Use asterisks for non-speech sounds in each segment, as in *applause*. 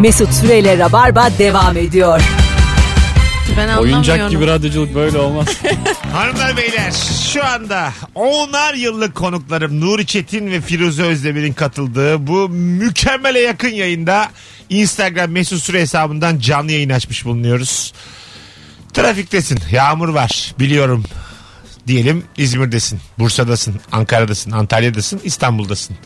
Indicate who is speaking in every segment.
Speaker 1: Mesut Süreyle Rabarba devam ediyor.
Speaker 2: Ben anlamıyorum. *laughs*
Speaker 3: Oyuncak gibi radyoculuk böyle olmaz.
Speaker 4: Hanımlar beyler şu anda 10'ar yıllık konuklarım Nuri Çetin ve Firuze Özdemir'in katıldığı bu mükemmele yakın yayında Instagram mesut süre hesabından canlı yayın açmış bulunuyoruz. Trafiktesin yağmur var biliyorum diyelim İzmir'desin, Bursa'dasın, Ankara'dasın, Antalya'dasın, İstanbul'dasın.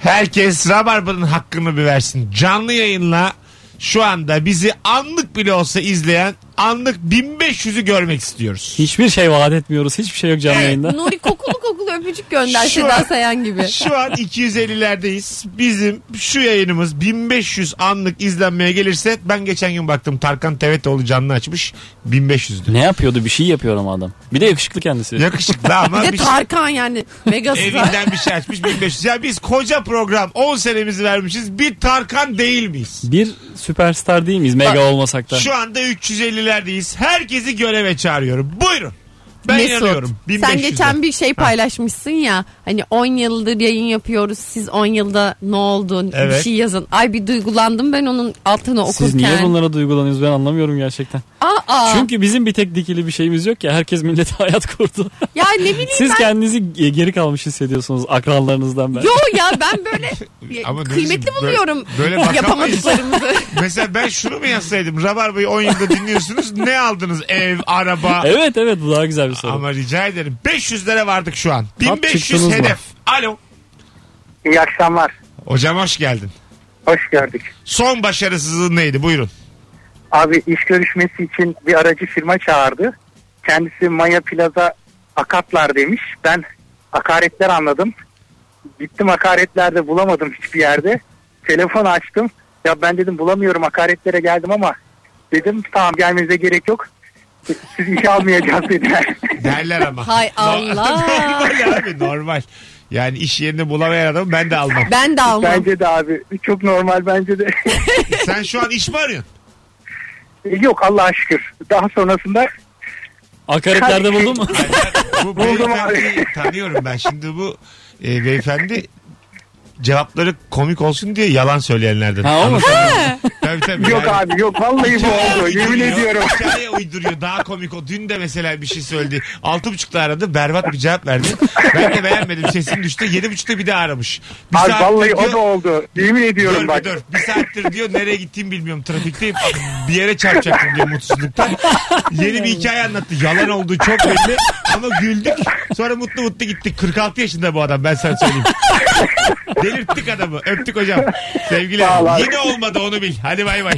Speaker 4: Herkes Rabarba'nın hakkını bir versin. Canlı yayınla şu anda bizi anlık bile olsa izleyen anlık 1500'ü görmek istiyoruz.
Speaker 3: *laughs* Hiçbir şey vaat etmiyoruz. Hiçbir şey yok canlı yayında.
Speaker 2: Nuri kokulu kokulu öpücük gönder
Speaker 4: Şu
Speaker 2: Seda
Speaker 4: an-
Speaker 2: Sayan gibi.
Speaker 4: Şu an 250'lerdeyiz. Bizim şu yayınımız 1500 anlık izlenmeye gelirse ben geçen gün baktım Tarkan Tevetoğlu canlı açmış 1500'dü.
Speaker 3: ne yapıyordu? Bir şey yapıyor ama adam. Bir de yakışıklı kendisi.
Speaker 2: *laughs*
Speaker 4: Yakışıklı ama
Speaker 2: Bir de
Speaker 4: bir şey-
Speaker 2: Tarkan yani. Megastar.
Speaker 4: evinden bir şey açmış 1500. Ya biz koca program 10 senemizi vermişiz bir Tarkan değil miyiz?
Speaker 3: Bir süperstar değil miyiz? Mega olmasak da.
Speaker 4: Şu anda 350'lerdeyiz. Herkesi göreve çağırıyorum. Buyurun. Ben
Speaker 2: Mesut,
Speaker 4: inanıyorum. 1500'de.
Speaker 2: Sen geçen bir şey paylaşmışsın ya. Hani 10 yıldır yayın yapıyoruz. Siz 10 yılda ne oldu? Bir
Speaker 4: Evet.
Speaker 2: şey yazın. Ay bir duygulandım ben onun altına okurken.
Speaker 3: Siz niye bunlara duygulanıyorsunuz ben anlamıyorum gerçekten.
Speaker 2: Aa,
Speaker 3: Çünkü bizim bir tek dikili bir şeyimiz yok ya. Herkes millete *laughs* hayat kurdu.
Speaker 2: ya ne bileyim
Speaker 3: Siz
Speaker 2: ben.
Speaker 3: kendinizi ge- geri kalmış hissediyorsunuz akranlarınızdan ben.
Speaker 2: Yo ya ben
Speaker 4: *laughs*
Speaker 2: böyle ya,
Speaker 4: Ama
Speaker 2: kıymetli
Speaker 4: Deniz'im, böyle-
Speaker 2: buluyorum
Speaker 4: böyle
Speaker 2: *laughs*
Speaker 4: bakamayız.
Speaker 2: yapamadıklarımızı.
Speaker 4: Mesela ben şunu mu yazsaydım? Rabarba'yı 10 yılda dinliyorsunuz. ne aldınız? Ev, araba.
Speaker 3: Evet evet bu daha güzel bir soru.
Speaker 4: Ama rica ederim. 500'lere vardık şu an.
Speaker 3: Tam
Speaker 4: 1500
Speaker 3: çıktınız mı?
Speaker 4: hedef. Alo.
Speaker 5: İyi akşamlar.
Speaker 4: Hocam hoş geldin.
Speaker 5: Hoş gördük.
Speaker 4: Son başarısızlığın neydi? Buyurun.
Speaker 5: Abi iş görüşmesi için bir aracı firma çağırdı. Kendisi Maya Plaza akatlar demiş. Ben akaretler anladım. Gittim akaretlerde bulamadım hiçbir yerde. Telefon açtım. Ya ben dedim bulamıyorum akaretlere geldim ama dedim tamam gelmenize gerek yok. Sizi işe almayacağız *laughs* dediler.
Speaker 4: Derler ama.
Speaker 2: Hay Allah.
Speaker 4: *laughs* normal abi normal. Yani iş yerini bulamayan adamı ben de almam.
Speaker 2: ben de almam.
Speaker 5: bence de abi çok normal bence de. *laughs*
Speaker 4: Sen şu an iş mi arıyorsun?
Speaker 5: yok Allah'a şükür. Daha sonrasında
Speaker 3: Akaretlerde
Speaker 2: *laughs*
Speaker 3: buldun mu?
Speaker 4: Bu
Speaker 5: Buldum
Speaker 4: beyefendiyi
Speaker 5: abi.
Speaker 4: tanıyorum ben. Şimdi bu e, beyefendi cevapları komik olsun diye yalan söyleyenlerden.
Speaker 3: Ha, o mu?
Speaker 4: Tabii tabii.
Speaker 5: yok
Speaker 4: yani-
Speaker 5: abi yok vallahi
Speaker 4: *laughs*
Speaker 5: bu oldu.
Speaker 4: Hikaye
Speaker 5: Yemin
Speaker 4: uyduruyor.
Speaker 5: ediyorum.
Speaker 4: Hikaye uyduruyor. Daha komik o. Dün de mesela bir şey söyledi. Altı buçukta aradı. Berbat bir cevap verdi. Ben de beğenmedim. Sesim düştü. Yedi buçukta bir daha aramış. Bir
Speaker 5: Abi
Speaker 4: saattir
Speaker 5: vallahi
Speaker 4: diyor-
Speaker 5: o da oldu. Yemin ediyorum
Speaker 4: Dur,
Speaker 5: bak.
Speaker 4: dur. Bir saattir diyor nereye gittiğimi bilmiyorum. Trafikteyim. Bir yere çarpacaktım diyor mutsuzluktan. Yeni bir hikaye anlattı. Yalan olduğu çok belli. Ama güldük. Sonra mutlu mutlu gittik. 46 yaşında bu adam ben sana söyleyeyim. Delirttik adamı. Öptük hocam.
Speaker 5: Sağ ol
Speaker 4: Sevgiler.
Speaker 5: abi.
Speaker 4: Yine olmadı onu bil. Hadi bay bay.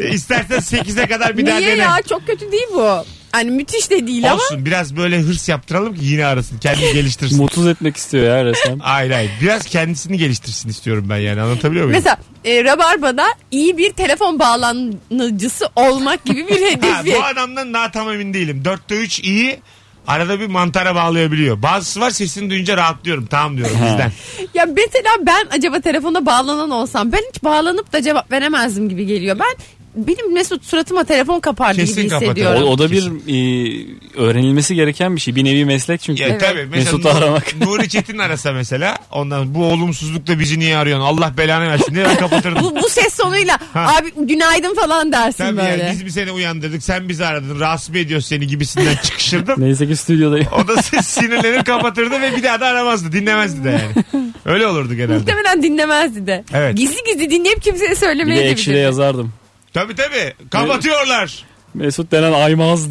Speaker 4: E, İstersen 8'e kadar bir daha
Speaker 2: Niye
Speaker 4: dene.
Speaker 2: ya çok kötü değil bu. Hani müthiş de değil ama.
Speaker 4: Olsun biraz böyle hırs yaptıralım ki yine arasın. Kendini geliştirsin.
Speaker 3: Mutsuz etmek istiyor ya resmen.
Speaker 4: Hayır hayır. Biraz kendisini geliştirsin istiyorum ben yani. Anlatabiliyor muyum?
Speaker 2: Mesela e, Rabarba'da iyi bir telefon bağlanıcısı olmak gibi
Speaker 4: *laughs*
Speaker 2: bir
Speaker 4: Ha,
Speaker 2: hedefi.
Speaker 4: bu adamdan daha tam emin değilim. Dörtte üç iyi. Arada bir mantara bağlayabiliyor. Bazısı var sesini duyunca rahatlıyorum. Tamam diyorum bizden.
Speaker 2: ya mesela ben acaba telefona bağlanan olsam ben hiç bağlanıp da cevap veremezdim gibi geliyor. Ben benim Mesut suratıma telefon kapardı
Speaker 4: Kesin
Speaker 2: gibi
Speaker 4: kapatır.
Speaker 3: O,
Speaker 2: hissediyorum.
Speaker 3: o da bir e, öğrenilmesi gereken bir şey. Bir nevi meslek çünkü.
Speaker 4: Ya tabii. Mesela
Speaker 3: Mesut'u
Speaker 4: Nur-
Speaker 3: aramak.
Speaker 4: *laughs* Nuri Çetin arasa mesela. Ondan bu olumsuzlukla bizi niye arıyorsun? Allah belanı versin diye ben
Speaker 2: *laughs*
Speaker 4: kapatırdım.
Speaker 2: Bu, bu ses sonuyla
Speaker 4: *laughs* Ha.
Speaker 2: abi günaydın falan dersin
Speaker 4: tabii
Speaker 2: böyle.
Speaker 4: yani biz bir seni uyandırdık. Sen bizi aradın. Rahatsız mı ediyoruz seni gibisinden çıkışırdım.
Speaker 3: Neyse ki stüdyodayım.
Speaker 4: O da ses sinirlenir kapatırdı ve bir daha da aramazdı. Dinlemezdi de yani. Öyle olurdu genelde.
Speaker 2: Muhtemelen dinlemezdi de.
Speaker 4: Evet.
Speaker 2: Gizli gizli dinleyip kimseye
Speaker 3: Bir de
Speaker 2: söylemeye de
Speaker 3: ekşide
Speaker 2: bilirdi.
Speaker 3: yazardım.
Speaker 4: Tabii tabii.
Speaker 2: *laughs*
Speaker 4: Kapatıyorlar.
Speaker 3: Mesut denen aymaz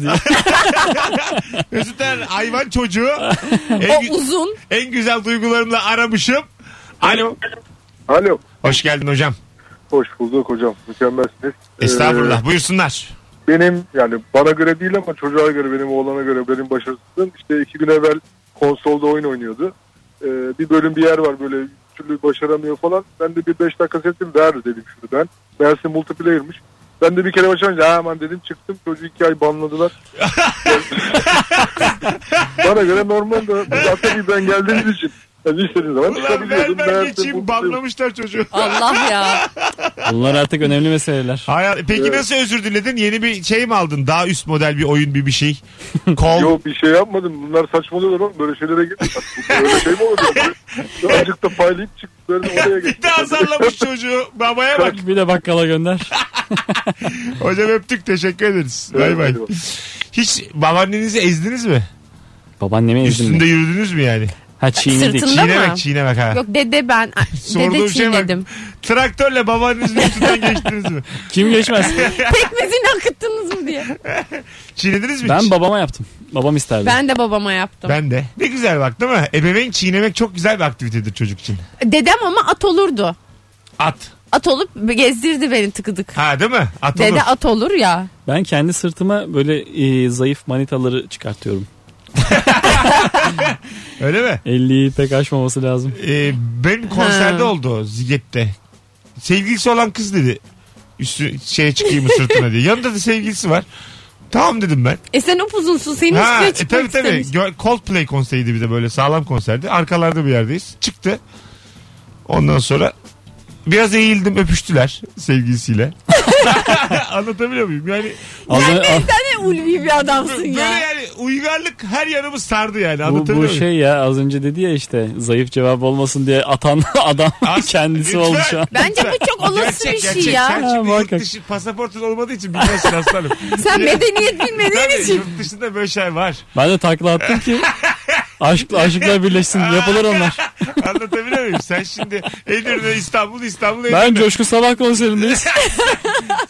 Speaker 4: *laughs*
Speaker 3: diye.
Speaker 4: Mesut Er, hayvan çocuğu. En,
Speaker 2: O
Speaker 4: gü-
Speaker 2: uzun.
Speaker 4: en güzel duygularımla aramışım. Alo.
Speaker 6: Alo.
Speaker 4: Hoş geldin hocam.
Speaker 6: Hoş bulduk hocam. Mükemmelsiniz. Ee,
Speaker 4: Estağfurullah. Buyursunlar.
Speaker 6: benim yani bana göre değil ama çocuğa göre benim oğlana göre benim başarısızlığım işte iki gün evvel konsolda oyun oynuyordu. Ee, bir bölüm bir yer var böyle bir türlü başaramıyor falan. Ben de bir 5 dakika sesim ver dedim şunu ben. Meğerse multiplayer'mış. Ben de bir kere başarınca "Ha, hemen dedim çıktım. Çocuğu iki ay
Speaker 4: *laughs*
Speaker 6: banladılar. bana göre normal de zaten bir ben geldiğiniz için. Yani istediğin zaman
Speaker 4: Ulan
Speaker 6: çıkabiliyordun.
Speaker 4: ver ver
Speaker 6: Meğerse
Speaker 4: geçeyim
Speaker 6: bu-
Speaker 4: banlamışlar çocuğu.
Speaker 2: Allah
Speaker 4: *laughs*
Speaker 2: ya.
Speaker 3: Bunlar artık önemli meseleler.
Speaker 4: Hayal, peki
Speaker 6: Evet.
Speaker 4: nasıl özür diledin? Yeni bir şey mi aldın? Daha üst model bir oyun bir bir şey. Kol.
Speaker 6: Yok bir şey yapmadım. Bunlar saçmalıyorlar oğlum. Böyle şeylere girme. Böyle şey mi olur? Böyle- Azıcık da paylayıp çık. Böyle oraya geç.
Speaker 4: *laughs* Bir de azarlamış çocuğu. Babaya bak.
Speaker 3: Bir de bakkala gönder.
Speaker 4: Hocam öptük teşekkür ederiz.
Speaker 6: Evet,
Speaker 4: Bay bay.
Speaker 6: hadi bak.
Speaker 4: Hiç babaannenizi ezdiniz mi?
Speaker 3: Babaannemi ezdim.
Speaker 4: Üstünde
Speaker 3: ben.
Speaker 4: yürüdünüz mü yani?
Speaker 3: Ha çiğnedik.
Speaker 2: Sırtında- Değil mi?
Speaker 4: Çiğnemek çiğnemek ha.
Speaker 2: Yok dede ben. Ay,
Speaker 4: Sorduğum
Speaker 2: dede
Speaker 4: şeye bak. *laughs*
Speaker 2: çiğnedim.
Speaker 4: Traktörle babaannenizin üstünden *laughs* geçtiniz mi? *laughs*
Speaker 3: Kim geçmez?
Speaker 2: Pekmezini akıttınız mı diye.
Speaker 4: Çiğnediniz mi?
Speaker 3: ben
Speaker 4: hiç?
Speaker 3: babama yaptım. Babam isterdi.
Speaker 2: Ben de babama yaptım.
Speaker 4: ben de. Ne güzel bak değil mi? Ebeveyn çiğnemek çok güzel bir aktivitedir çocuk için.
Speaker 2: Dedem ama at olurdu.
Speaker 4: At.
Speaker 2: At olup gezdirdi beni tıkıdık.
Speaker 4: Ha değil mi? At olur.
Speaker 2: Dede at olur ya.
Speaker 3: Ben kendi sırtıma böyle e, zayıf manitaları çıkartıyorum.
Speaker 4: Öyle mi?
Speaker 3: 50'yi pek aşmaması lazım.
Speaker 4: Ee, benim konserde
Speaker 2: Ha.
Speaker 4: oldu Ziget'te. Sevgilisi olan kız dedi. Üstü şeye çıkayım mı sırtına diye. Yanında da sevgilisi var. Tamam dedim ben.
Speaker 2: E sen upuzunsun senin
Speaker 4: Ha,
Speaker 2: üstüne
Speaker 4: e,
Speaker 2: çıkmak
Speaker 4: tabii tabii.
Speaker 2: istemiş.
Speaker 4: Gö- Coldplay konseriydi bir de böyle sağlam konserdi. Arkalarda bir yerdeyiz. Çıktı. Ondan sonra biraz eğildim öpüştüler
Speaker 2: *laughs*
Speaker 4: sevgilisiyle. Anlatabiliyor muyum? Yani
Speaker 3: Az
Speaker 2: Sen
Speaker 3: önce-
Speaker 2: ne, sen ne ulvi bir adamsın
Speaker 4: böyle
Speaker 2: ya.
Speaker 4: yani uygarlık her yanımı sardı yani.
Speaker 3: bu,
Speaker 4: Anlatabiliyor
Speaker 3: bu
Speaker 4: muyum?
Speaker 3: şey ya az önce dedi ya işte zayıf cevap olmuş diye atan *laughs* adam kendisi
Speaker 4: Lütfen.
Speaker 3: oldu şu an.
Speaker 2: Bence bu çok *laughs* olası
Speaker 4: Gerçek,
Speaker 2: bir şey
Speaker 4: gerçek.
Speaker 2: ya.
Speaker 4: Sen
Speaker 3: Ha,
Speaker 4: şimdi yurt
Speaker 3: muhakkak.
Speaker 4: dışı pasaportun olmadığı için bilmezsin aslanım.
Speaker 2: *laughs* Sen medeniyet
Speaker 4: Tabii
Speaker 2: bilmediğin için.
Speaker 4: yurt dışında böyle şey var.
Speaker 3: Ben de takla
Speaker 4: *laughs*
Speaker 3: attım ki aşkla aşıklar birleşsin yapılır onlar.
Speaker 4: Anlatabiliyor muyum? Sen şimdi Edirne İstanbul İstanbul Edirne.
Speaker 3: Ben Coşku Sabah
Speaker 4: *laughs*
Speaker 3: konserindeyiz.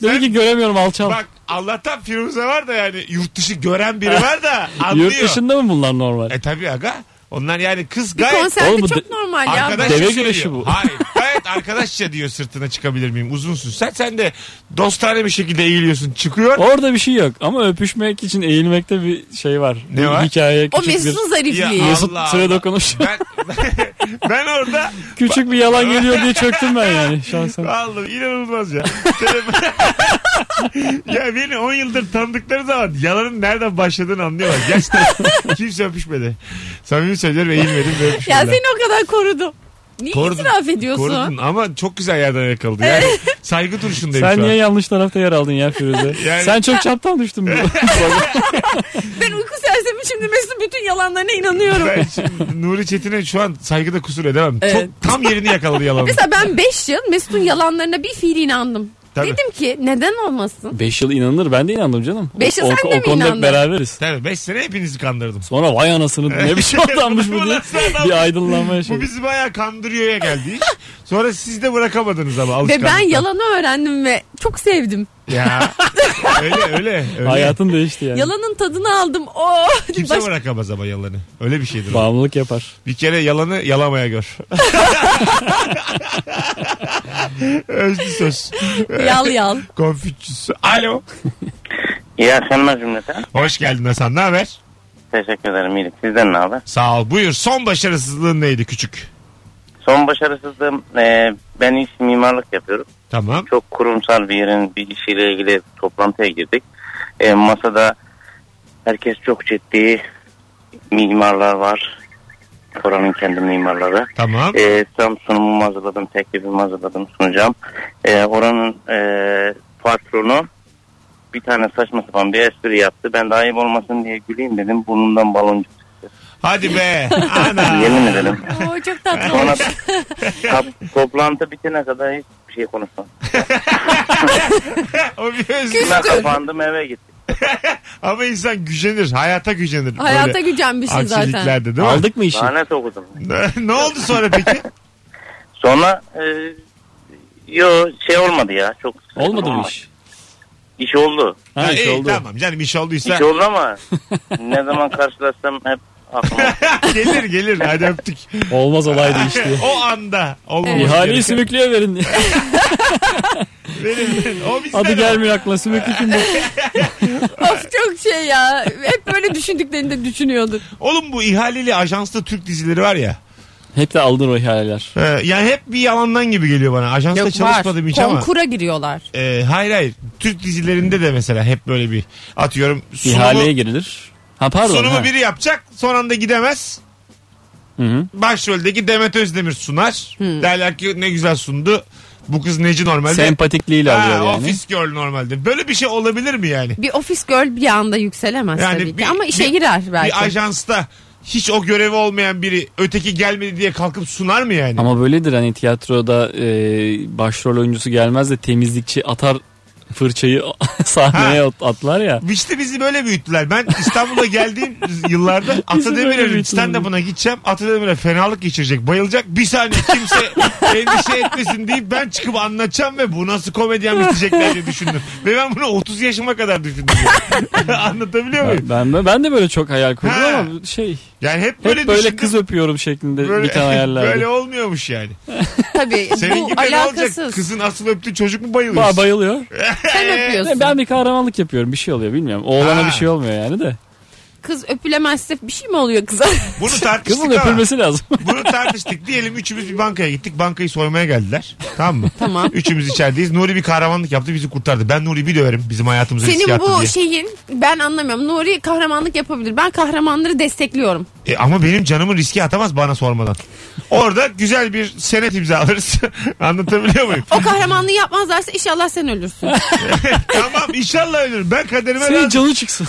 Speaker 3: Dedi ki göremiyorum alçal.
Speaker 4: Bak Allah'tan Firuze var da yani yurt dışı gören biri var da anlıyor.
Speaker 3: *laughs* Yurt dışında mı bunlar normal?
Speaker 4: E tabii aga. Onlar yani kız
Speaker 2: Bir
Speaker 4: gayet
Speaker 2: konserde
Speaker 3: Oğlum bu
Speaker 2: çok
Speaker 3: de-
Speaker 2: normal ya.
Speaker 4: arkadaşça
Speaker 3: Deve
Speaker 4: söylüyor.
Speaker 3: güreşi bu.
Speaker 4: şey Hayır gayet arkadaşça diyor sırtına çıkabilir miyim uzunsun. Sen sen de dostane bir şekilde eğiliyorsun çıkıyor.
Speaker 3: Orada bir şey yok ama öpüşmek için eğilmekte bir şey var.
Speaker 4: Ne
Speaker 3: Bu
Speaker 4: var?
Speaker 3: Hikaye
Speaker 2: O
Speaker 3: küçük bir...
Speaker 2: Mesut'un zarifliği.
Speaker 4: Ya Allah
Speaker 3: Mesut
Speaker 4: Allah.
Speaker 3: sıra dokunuş. *laughs*
Speaker 4: Ben, *laughs* ben orada
Speaker 3: küçük bir yalan geliyor diye çöktüm
Speaker 4: *laughs*
Speaker 3: ben yani şahsen.
Speaker 4: Vallahi inanılmaz ya. *laughs* Telefon- ya beni 10 yıldır tanıdıkları zaman yalanın nereden başladığını anlıyorlar. Gerçekten kimse öpüşmedi. Samimi söylüyorum eğilmedim ve
Speaker 2: Ya
Speaker 4: öpüşmediler.
Speaker 2: seni o kadar korudum. Niye
Speaker 4: Korudun,
Speaker 2: itiraf ediyorsun?
Speaker 4: Korudun ama çok güzel yerden yakaladı. Yani saygı duruşundayım
Speaker 3: Sen
Speaker 4: şu
Speaker 3: niye
Speaker 4: an.
Speaker 3: yanlış tarafta yer aldın ya Firuze?
Speaker 4: *laughs* Yani-
Speaker 3: Sen çok çaptan
Speaker 4: *laughs*
Speaker 3: düştün burada.
Speaker 2: Ben uyku sersemi şimdi Mesut'un bütün yalanlarına inanıyorum.
Speaker 4: Ben şimdi Nuri Çetin'e şu an saygıda kusur edemem.
Speaker 2: Evet.
Speaker 4: Çok tam yerini yakaladı yalanın.
Speaker 2: Mesela ben 5 yıl Mesut'un yalanlarına bir fiil inandım.
Speaker 4: Tabii.
Speaker 2: Dedim ki neden olmasın?
Speaker 3: 5 yıl inanılır ben de inandım canım.
Speaker 2: Beş yıl
Speaker 3: o,
Speaker 2: sen
Speaker 3: o,
Speaker 2: de
Speaker 3: o
Speaker 2: mi
Speaker 3: konuda
Speaker 2: inandın?
Speaker 3: beraberiz.
Speaker 4: Tabii 5 sene hepinizi kandırdım.
Speaker 3: Sonra vay anasını ne biçim adammış
Speaker 4: *laughs*
Speaker 3: bu
Speaker 4: Bu
Speaker 3: diye
Speaker 4: nasıl adam?
Speaker 3: bir aydınlanma yaşadı.
Speaker 4: Bu bizi bayağı kandırıyor'ya geldi iş. Sonra siz de bırakamadınız
Speaker 2: Ve
Speaker 4: ama
Speaker 2: ben
Speaker 4: alışkanlıktan.
Speaker 2: yalanı öğrendim ve çok sevdim.
Speaker 4: Ya. öyle öyle. öyle.
Speaker 3: Hayatın değişti yani.
Speaker 2: Yalanın tadını aldım. Oh!
Speaker 4: Kimse
Speaker 2: Baş-
Speaker 4: bırakamaz ama yalanı. Öyle bir şeydir. o.
Speaker 3: Bağımlılık yapar.
Speaker 4: Bir kere yalanı yalamaya gör. Özlü söz.
Speaker 2: Yal
Speaker 4: *laughs*
Speaker 2: yal.
Speaker 4: Konfüçyüsü. Alo.
Speaker 7: İyi akşamlar cümleten.
Speaker 4: Hoş geldin Hasan. Ne haber?
Speaker 7: Teşekkür ederim iyilik. Sizden ne haber?
Speaker 4: Sağ ol. Buyur. Son başarısızlığın neydi küçük?
Speaker 7: Son başarısızlığım e, ben iş mimarlık yapıyorum.
Speaker 4: Tamam.
Speaker 7: Çok kurumsal bir yerin bir işiyle ilgili toplantıya girdik. E, masada herkes çok ciddi mimarlar var. Oranın kendi mimarları.
Speaker 4: Tamam.
Speaker 7: E, tam sunumumu hazırladım, teklifimi hazırladım, sunacağım. E, oranın e, patronu bir tane saçma sapan bir espri yaptı. Ben de ayıp olmasın diye güleyim dedim. Burnumdan baloncuk.
Speaker 4: Hadi
Speaker 2: *laughs*
Speaker 4: be. *laughs* Ana.
Speaker 7: Yemin ederim.
Speaker 2: Oo, çok tatlı
Speaker 7: Sonra
Speaker 2: olmuş.
Speaker 7: *laughs* kap- toplantı bitene kadar hiçbir şey konuşmadım.
Speaker 4: o bir özlü.
Speaker 7: Ben kapandım eve gittim.
Speaker 4: Ama insan gücenir. Hayata gücenir.
Speaker 2: Hayata
Speaker 4: Böyle
Speaker 2: gücenmişsin zaten.
Speaker 4: aksiliklerde değil mi?
Speaker 3: Aldık mı işi?
Speaker 7: Lanet okudum.
Speaker 4: *laughs* ne oldu sonra peki?
Speaker 7: Sonra e, yo şey olmadı ya. Çok
Speaker 3: Olmadı mı iş?
Speaker 7: İş oldu.
Speaker 3: *laughs* Ha,
Speaker 4: Ha,
Speaker 3: iş
Speaker 4: iyi,
Speaker 3: oldu.
Speaker 4: Tamam canım iş olduysa
Speaker 7: İş oldu ama
Speaker 3: *laughs*
Speaker 7: ne zaman karşılaşsam hep *laughs* aklıma.
Speaker 4: *laughs* gelir gelir. Hadi öptük.
Speaker 3: Olmaz olaydı
Speaker 4: *laughs*
Speaker 3: iş diye.
Speaker 4: o anda olmaması
Speaker 3: İhaleyi
Speaker 4: gereken.
Speaker 3: sümüklüye
Speaker 4: *laughs*
Speaker 3: verin.
Speaker 4: Verin, verin. O bizden
Speaker 3: Adı
Speaker 4: o.
Speaker 3: gelmiyor aklına sümüklü kim bu?
Speaker 2: of çok şey ya. Hep böyle düşündüklerini de düşünüyordun.
Speaker 4: Oğlum bu ihaleli ajanslı Türk dizileri var ya.
Speaker 3: Hep de aldın o ihaleler.
Speaker 4: Ee, yani hep bir yalandan gibi geliyor bana. Ajansta çalışmadım hiç ama.
Speaker 2: Konkura giriyorlar.
Speaker 4: Ee, hayır hayır. Türk dizilerinde de mesela hep böyle bir atıyorum sunumu,
Speaker 3: İhaleye girilir. Ha pardon.
Speaker 4: sunumu
Speaker 3: ha.
Speaker 4: biri yapacak. Son anda gidemez. Başroldeki Demet Özdemir sunar. Derler ki ne güzel sundu. Bu kız neci normalde?
Speaker 3: Sempatikliğiyle
Speaker 4: Ha,
Speaker 3: alıyor yani.
Speaker 4: Office girl normalde. Böyle bir şey olabilir mi yani?
Speaker 2: Bir ofis girl bir anda yükselemez
Speaker 4: Yani
Speaker 2: tabii
Speaker 4: bir-
Speaker 2: ki. Ama işe
Speaker 4: bir-
Speaker 2: girer belki.
Speaker 4: Bir ajansta hiç o görevi olmayan biri öteki gelmedi diye kalkıp sunar mı yani?
Speaker 3: Ama böyledir hani tiyatroda e, başrol oyuncusu gelmez de temizlikçi atar fırçayı *laughs* sahneye at- atlar ya.
Speaker 4: İşte bizi böyle büyüttüler. Ben İstanbul'a geldiğim yıllarda
Speaker 3: *laughs* Bizi böyle
Speaker 4: Atademir'in
Speaker 3: büyüttüler.
Speaker 4: stand-up'ına gideceğim. Atademir'e fenalık geçirecek, bayılacak. Bir saniye kimse
Speaker 3: *laughs*
Speaker 4: endişe etmesin deyip ben çıkıp anlatacağım ve bu nasıl komedyen bitecekler diye düşündüm. Ve ben bunu 30 yaşıma kadar
Speaker 3: *laughs*
Speaker 4: düşündüm. yani. Anlatabiliyor muyum?
Speaker 3: Ben, ben de ben de böyle çok hayal kurdum
Speaker 4: Ha.
Speaker 3: ama şey hep
Speaker 4: Yani hep böyle,
Speaker 3: böyle,
Speaker 4: düşündüm.
Speaker 3: kız öpüyorum
Speaker 4: *laughs*
Speaker 3: şeklinde
Speaker 4: Böyle,
Speaker 3: bir tane hayaller.
Speaker 4: böyle olmuyormuş yani.
Speaker 2: Tabii
Speaker 4: *laughs* Senin gibi
Speaker 2: bu
Speaker 4: ne olacak?
Speaker 2: alakasız.
Speaker 4: Kızın asıl öptüğü çocuk mu bayılıyor?
Speaker 3: Ba- bayılıyor.
Speaker 2: Sen
Speaker 4: Ee,
Speaker 2: öpüyorsun.
Speaker 3: Ben bir kahramanlık yapıyorum. Bir şey oluyor bilmiyorum. Oğlana
Speaker 4: Ha.
Speaker 3: bir şey olmuyor yani de.
Speaker 2: Kız öpülemezse bir şey mi oluyor kıza?
Speaker 4: Bunu
Speaker 3: Kızın
Speaker 4: tartıştık ama.
Speaker 3: öpülmesi lazım.
Speaker 4: Bunu tartıştık. Diyelim üçümüz bir bankaya gittik. Bankayı soymaya geldiler. Tamam mı?
Speaker 2: Tamam.
Speaker 4: Üçümüz içerideyiz. Nuri bir kahramanlık yaptı bizi kurtardı. Ben Nuri'yi bir döverim bizim hayatımızı riske
Speaker 2: *laughs* Senin
Speaker 4: attı
Speaker 2: bu
Speaker 4: diye.
Speaker 2: şeyin ben anlamıyorum. Nuri kahramanlık yapabilir. Ben kahramanları destekliyorum.
Speaker 4: E, ama benim canımı riske atamaz bana sormadan. Orada güzel bir senet imzalarız. *laughs* Anlatabiliyor
Speaker 3: *laughs*
Speaker 4: muyum?
Speaker 2: O kahramanlığı yapmazlarsa inşallah sen ölürsün.
Speaker 4: tamam inşallah ölürüm. Ben kaderime
Speaker 3: Senin
Speaker 4: razı-
Speaker 3: canı çıksın.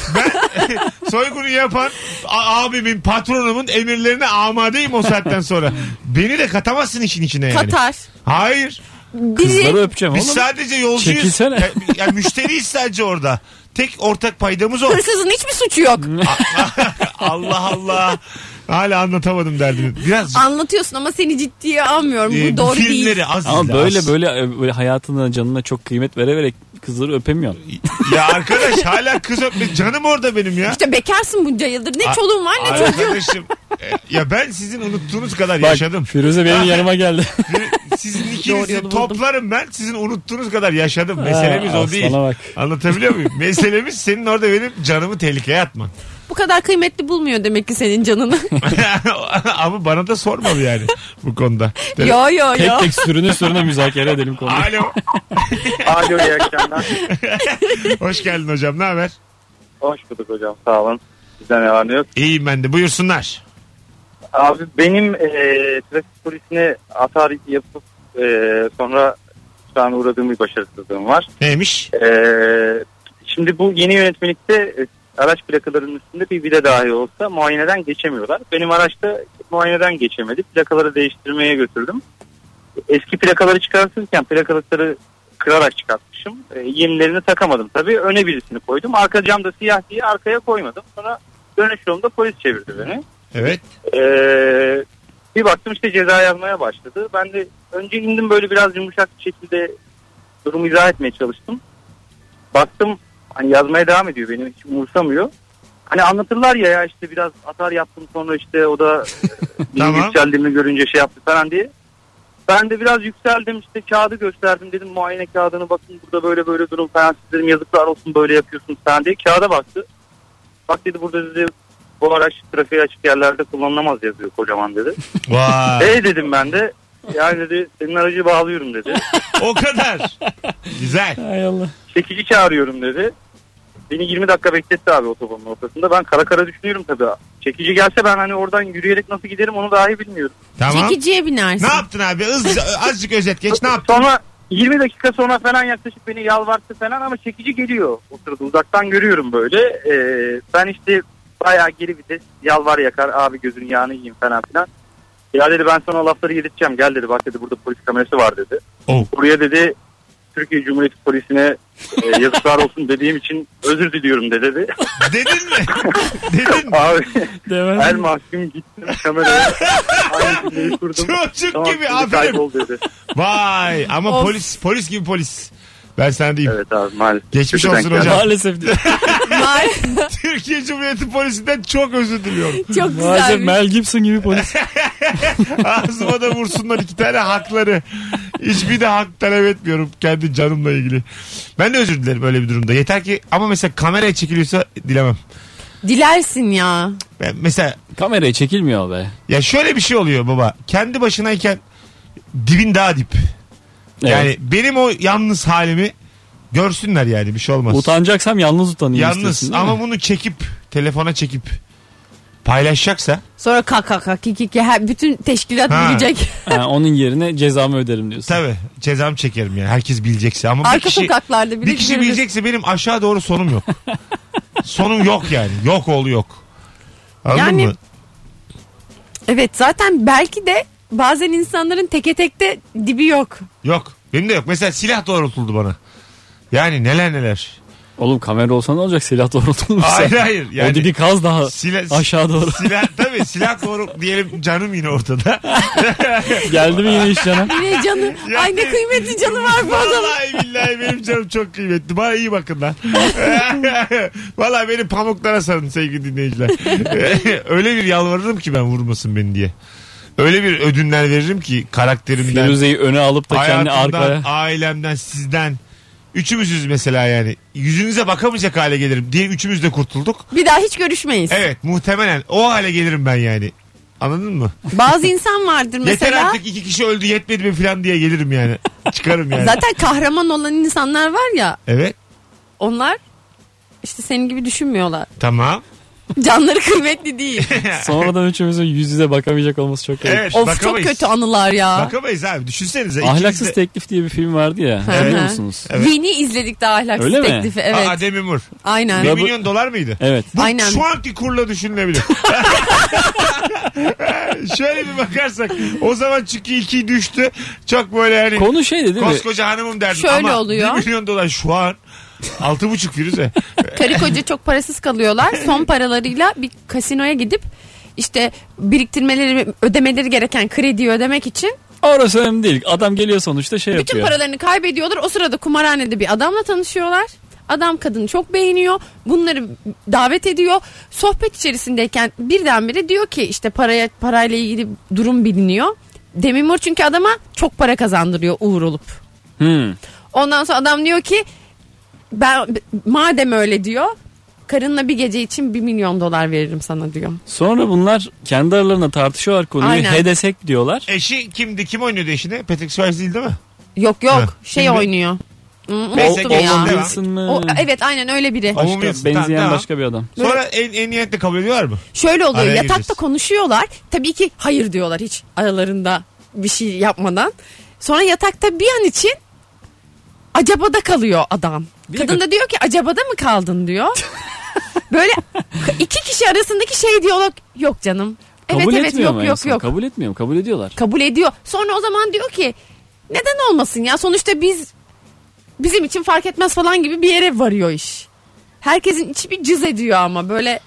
Speaker 4: *laughs* Soygunu yapan a- abimin patronumun emirlerine amadeyim o saatten sonra. Beni de katamazsın işin içine yani.
Speaker 2: Katar.
Speaker 4: Hayır.
Speaker 3: Kızları
Speaker 2: Biri
Speaker 3: öpeceğim
Speaker 4: Biz
Speaker 3: oğlum.
Speaker 4: sadece yolcuyuz.
Speaker 3: Çekilsene.
Speaker 4: Ya, ya müşteriyiz sadece orada. Tek ortak paydamız o.
Speaker 2: hırsızın hiçbir suçu yok.
Speaker 4: Allah Allah. Hala anlatamadım derdimi. Biraz
Speaker 2: Anlatıyorsun ama seni ciddiye almıyorum.
Speaker 4: e,
Speaker 2: Bu
Speaker 4: bu
Speaker 2: doğru
Speaker 4: filmleri
Speaker 2: değil.
Speaker 4: az
Speaker 3: Ama
Speaker 4: izle,
Speaker 3: böyle
Speaker 4: az.
Speaker 3: böyle, böyle hayatına canına çok kıymet vererek kızları öpemiyorsun.
Speaker 4: Ya arkadaş hala kız öpme. Canım orada benim ya.
Speaker 2: İşte bekarsın bunca yıldır. Ne çoluğun var ne çocuğun.
Speaker 4: Arkadaşım. e, Ya ben sizin unuttuğunuz kadar
Speaker 3: Bak
Speaker 4: yaşadım. Ah.
Speaker 3: Firuze benim yanıma geldi.
Speaker 4: Bir- Sizin
Speaker 2: Doğru
Speaker 4: ikinizi
Speaker 2: yolu
Speaker 4: toplarım ben. Sizin unuttuğunuz kadar yaşadım. Meselemiz
Speaker 3: Ha,
Speaker 4: o değil.
Speaker 3: Ah, aslana bak.
Speaker 4: Anlatabiliyor muyum? Meselemiz senin orada benim canımı tehlikeye atman.
Speaker 2: Bu kadar kıymetli bulmuyor demek ki senin
Speaker 4: *laughs*
Speaker 2: canını.
Speaker 4: Ama bana da sormadı yani bu konuda.
Speaker 2: yo yo yo.
Speaker 3: tek tek sürüne sürüne müzakere edelim konuyu.
Speaker 4: Alo.
Speaker 7: Alo iyi akşamlar.
Speaker 4: Hoş geldin hocam. Ne haber?
Speaker 7: Hoş bulduk hocam sağ olun. Bizden ne var ne yok.
Speaker 4: İyiyim ben de. Buyursunlar.
Speaker 7: Abi benim eee trafik polisine atar yapıp eee, sonra şu an uğradığım bir başarısızlığım var.
Speaker 4: Neymiş?
Speaker 7: Eee, Ee, şimdi bu yeni yönetmelikte e, araç plakalarının üstünde bir vida dahi olsa muayeneden geçemiyorlar. Benim araçta muayeneden geçemedi. Plakaları değiştirmeye götürdüm. Eski plakaları çıkartırken plakalıkları kırarak çıkartmışım. E, yenilerini takamadım tabii. Öne birisini koydum. Arka camda siyah diye arkaya koymadım. Sonra dönüş yolunda polis çevirdi beni.
Speaker 4: Evet.
Speaker 7: Ee, bir baktım işte ceza yazmaya başladı. Ben de önce indim böyle biraz yumuşak bir şekilde durumu izah etmeye çalıştım. Baktım hani yazmaya devam ediyor benim hiç umursamıyor. Hani anlatırlar ya ya işte biraz atar yaptım sonra işte o da benim
Speaker 4: Tamam.
Speaker 7: yükseldiğimi görünce şey yaptı falan diye. Ben de biraz yükseldim işte kağıdı gösterdim dedim muayene kağıdını bakın burada böyle böyle durum falan siz dedim yazıklar olsun böyle yapıyorsunuz falan diye kağıda baktı. Bak dedi burada dedi bu araç trafiğe açık yerlerde kullanılamaz yazıyor kocaman dedi.
Speaker 4: Vay.
Speaker 7: E dedim ben de. Yani dedi senin aracı
Speaker 4: *laughs*
Speaker 7: bağlıyorum dedi.
Speaker 4: o kadar. Güzel.
Speaker 3: Hay Allah.
Speaker 7: Çekici çağırıyorum dedi. Beni 20 dakika bekletti abi otobanın ortasında. Ben kara kara düşünüyorum tabii. Çekici gelse ben hani oradan yürüyerek nasıl giderim onu dahi bilmiyorum.
Speaker 4: Tamam.
Speaker 2: Çekiciye binersin.
Speaker 4: Ne yaptın abi? Hızlıca, azıcık özet geç. Ne yaptın?
Speaker 7: Sonra 20 dakika sonra falan yaklaşıp beni yalvarttı falan ama çekici geliyor. O sırada uzaktan görüyorum böyle. Ee, ben işte bayağı geri vites yalvar yakar abi gözünün yağını yiyeyim falan filan. Ya dedi ben sana o lafları yedirteceğim gel dedi bak dedi burada polis kamerası var dedi.
Speaker 4: Oh.
Speaker 7: Buraya dedi Türkiye Cumhuriyeti Polisi'ne e, yazıklar olsun dediğim için özür diliyorum
Speaker 4: *laughs*
Speaker 7: de dedi.
Speaker 4: Dedin mi? Dedin mi?
Speaker 7: Abi her
Speaker 3: Demem.
Speaker 7: mahkum gittim kameraya aynı cümleyi kurdum.
Speaker 4: Çocuk
Speaker 7: Tamam,
Speaker 4: gibi
Speaker 7: dedi,
Speaker 4: aferin.
Speaker 7: kaybol dedi.
Speaker 4: Vay ama
Speaker 2: Of.
Speaker 4: polis polis gibi polis. Ben sana diyeyim.
Speaker 7: Evet abi maalesef.
Speaker 4: Geçmiş
Speaker 7: Kötü denk
Speaker 4: olsun
Speaker 7: geldi.
Speaker 4: hocam.
Speaker 3: Maalesef diyor.
Speaker 2: Var. *laughs*
Speaker 4: Türkiye Cumhuriyeti polisinden çok özür diliyorum.
Speaker 2: Çok
Speaker 3: Maalesef
Speaker 2: güzel.
Speaker 3: Mel Gibson
Speaker 4: *laughs*
Speaker 3: gibi polis.
Speaker 4: Ağzıma da vursunlar iki tane hakları. Hiçbir de hak talep etmiyorum kendi canımla ilgili. Ben de özür dilerim öyle bir durumda. Yeter ki ama mesela kameraya çekiliyorsa dilemem.
Speaker 2: Dilersin ya.
Speaker 4: Ben mesela
Speaker 3: Kameraya çekilmiyor be.
Speaker 4: ya şöyle bir şey oluyor baba. Kendi başınayken dibin daha dip.
Speaker 3: Evet.
Speaker 4: Yani benim o yalnız halimi görsünler yani bir şey olmaz.
Speaker 3: Utanacaksam yalnız utanayım
Speaker 4: yalnız
Speaker 3: istiyorsun, değil mi?
Speaker 4: ama bunu çekip telefona çekip Paylaşacaksa
Speaker 2: Sonra kak kak kak ki ki ki her- bütün teşkilat
Speaker 4: Ha.
Speaker 2: bilecek.
Speaker 3: Ha, onun yerine cezamı öderim diyorsun.
Speaker 4: tabii cezam çekerim yani. Herkes bilecekse ama
Speaker 2: *laughs*
Speaker 4: bir
Speaker 2: Arka
Speaker 4: kişi,
Speaker 2: sokaklarda bile
Speaker 4: bir kişi
Speaker 2: görülür.
Speaker 4: bilecekse benim aşağı doğru sonum *laughs* yok. sonum yok yani. Yok oğlu yok. Anladın
Speaker 2: Yani-
Speaker 4: mı?
Speaker 2: Evet zaten belki de bazen insanların teke tekte dibi
Speaker 4: *laughs*
Speaker 2: yok.
Speaker 4: Yok. Benim de yok. Mesela silah doğrultuldu bana. Yani neler neler.
Speaker 3: Oğlum kamera olsa ne olacak silah doğrultulmuşsa.
Speaker 4: Hayır, hayır, yani-
Speaker 3: O dibi kaz daha
Speaker 4: Silah,
Speaker 3: aşağı doğru.
Speaker 4: Silah tabii silah doğru diyelim canım yine ortada.
Speaker 3: *laughs* Geldi mi yine iş canım?
Speaker 2: Yine canı.
Speaker 4: Yani-
Speaker 2: ay ne kıymetli canı var
Speaker 4: *laughs*
Speaker 2: bu adamın.
Speaker 4: *laughs* Vallahi billahi benim canım çok kıymetli. Bana iyi bakın lan. *laughs* Vallahi beni pamuklara sarın sevgili dinleyiciler. *laughs* Öyle bir yalvarırım ki ben vurmasın beni diye. Öyle bir ödünler veririm ki karakterimden,
Speaker 3: Firuze'yi öne alıp da kendini
Speaker 4: hayatımdan,
Speaker 3: arkaya.
Speaker 4: ailemden, sizden. Üçümüzüz mesela yani. Yüzünüze bakamayacak hale gelirim. Diyelim üçümüz de kurtulduk.
Speaker 2: Bir daha hiç görüşmeyiz.
Speaker 4: Evet muhtemelen o hale gelirim ben yani. Anladın mı?
Speaker 2: Bazı insan vardır
Speaker 4: Yeter
Speaker 2: mesela.
Speaker 4: artık iki kişi öldü yetmedi mi falan diye gelirim yani. Çıkarım yani.
Speaker 2: Zaten kahraman olan insanlar var ya
Speaker 4: Evet
Speaker 2: onlar işte senin gibi düşünmüyorlar. *laughs*
Speaker 4: tamam.
Speaker 2: Canları kıymetli değil.
Speaker 3: *laughs* Sonradan üçümüzün yüz yüze bakamayacak olması çok garip.
Speaker 4: Evet
Speaker 2: of çok
Speaker 4: bakamayız.
Speaker 2: kötü anılar ya.
Speaker 4: Bakamayız abi düşünsenize.
Speaker 3: Ahlaksız
Speaker 4: İkiniz de-
Speaker 3: Teklif diye bir film vardı ya.
Speaker 2: Hı hı.
Speaker 3: Biliyor musunuz?
Speaker 2: Yeni izledik daha ahlaksız
Speaker 3: Öyle mi?
Speaker 2: teklifi. Evet.
Speaker 4: Aa, Demi Moore.
Speaker 2: Aynen.
Speaker 4: 1
Speaker 3: Ya bu-
Speaker 4: milyon dolar mıydı?
Speaker 3: Evet.
Speaker 4: Bu
Speaker 2: Aynen.
Speaker 4: şu anki
Speaker 2: *laughs*
Speaker 4: kurla düşünülebilir. Şöyle bir bakarsak o zaman çünkü iki düştü. Çok böyle hani
Speaker 3: Konu şeydi değil mi?
Speaker 4: koskoca hanımım derdim
Speaker 2: Şöyle
Speaker 4: ama
Speaker 2: oluyor.
Speaker 4: 1 milyon dolar şu an altı
Speaker 2: *laughs*
Speaker 4: buçuk Firuze.
Speaker 2: Karı koca çok parasız kalıyorlar.
Speaker 4: *laughs*
Speaker 2: Son paralarıyla bir kasinoya gidip işte biriktirmeleri, ödemeleri gereken krediyi ödemek için
Speaker 3: Orası önemli değil. Adam geliyor sonuçta şey
Speaker 2: bütün
Speaker 3: yapıyor.
Speaker 2: paralarını kaybediyorlar. O sırada kumarhanede bir adamla tanışıyorlar. Adam kadını çok beğeniyor. Bunları davet ediyor. Sohbet içerisindeyken birdenbire diyor ki işte paraya parayla ilgili durum biliniyor. Demi Moore çünkü adama çok para kazandırıyor uğur olup.
Speaker 3: Hmm.
Speaker 2: Ondan sonra adam diyor ki ben madem öyle diyor karınla bir gece için bir milyon dolar veririm sana diyor.
Speaker 3: Sonra bunlar kendi aralarında tartışıyorlar konuyu.
Speaker 2: Aynen.
Speaker 3: He desek diyorlar.
Speaker 4: Eşi kimdi? Kim oynuyordu eşini? Patrick Swayze değil değil mi?
Speaker 2: Yok yok
Speaker 4: Heh.
Speaker 2: şey
Speaker 4: Şimdi-
Speaker 2: oynuyor. Hmm,
Speaker 4: Neyse,
Speaker 2: unuttum
Speaker 4: Owen
Speaker 2: ya.
Speaker 4: Wilson.
Speaker 3: Wilson mı?
Speaker 2: O, evet aynen öyle biri.
Speaker 4: Ay-
Speaker 3: Başka,
Speaker 4: Owen Wilson,
Speaker 3: benzeyen
Speaker 4: tamam.
Speaker 3: başka bir adam.
Speaker 4: Sonra en, en niyetle kabul ediyorlar mı?
Speaker 2: Şöyle oluyor
Speaker 4: Araya
Speaker 2: yatakta
Speaker 4: gireceğiz.
Speaker 2: konuşuyorlar. Tabii ki hayır diyorlar hiç aralarında bir şey yapmadan. Sonra yatakta bir an için acabada kalıyor adam. Kadın da diyor ki acabada mı kaldın diyor.
Speaker 3: *laughs*
Speaker 2: Böyle iki kişi arasındaki şey diyalog yok canım. Evet
Speaker 3: kabul
Speaker 2: evet
Speaker 3: etmiyor mu
Speaker 2: yok
Speaker 3: en
Speaker 2: yok
Speaker 3: son?
Speaker 2: yok.
Speaker 3: Kabul etmiyor mu? Kabul ediyorlar.
Speaker 2: kabul ediyor. Sonra o zaman diyor ki neden olmasın ya sonuçta biz bizim için fark etmez falan gibi bir yere varıyor iş. Herkesin içi bir cız ediyor ama böyle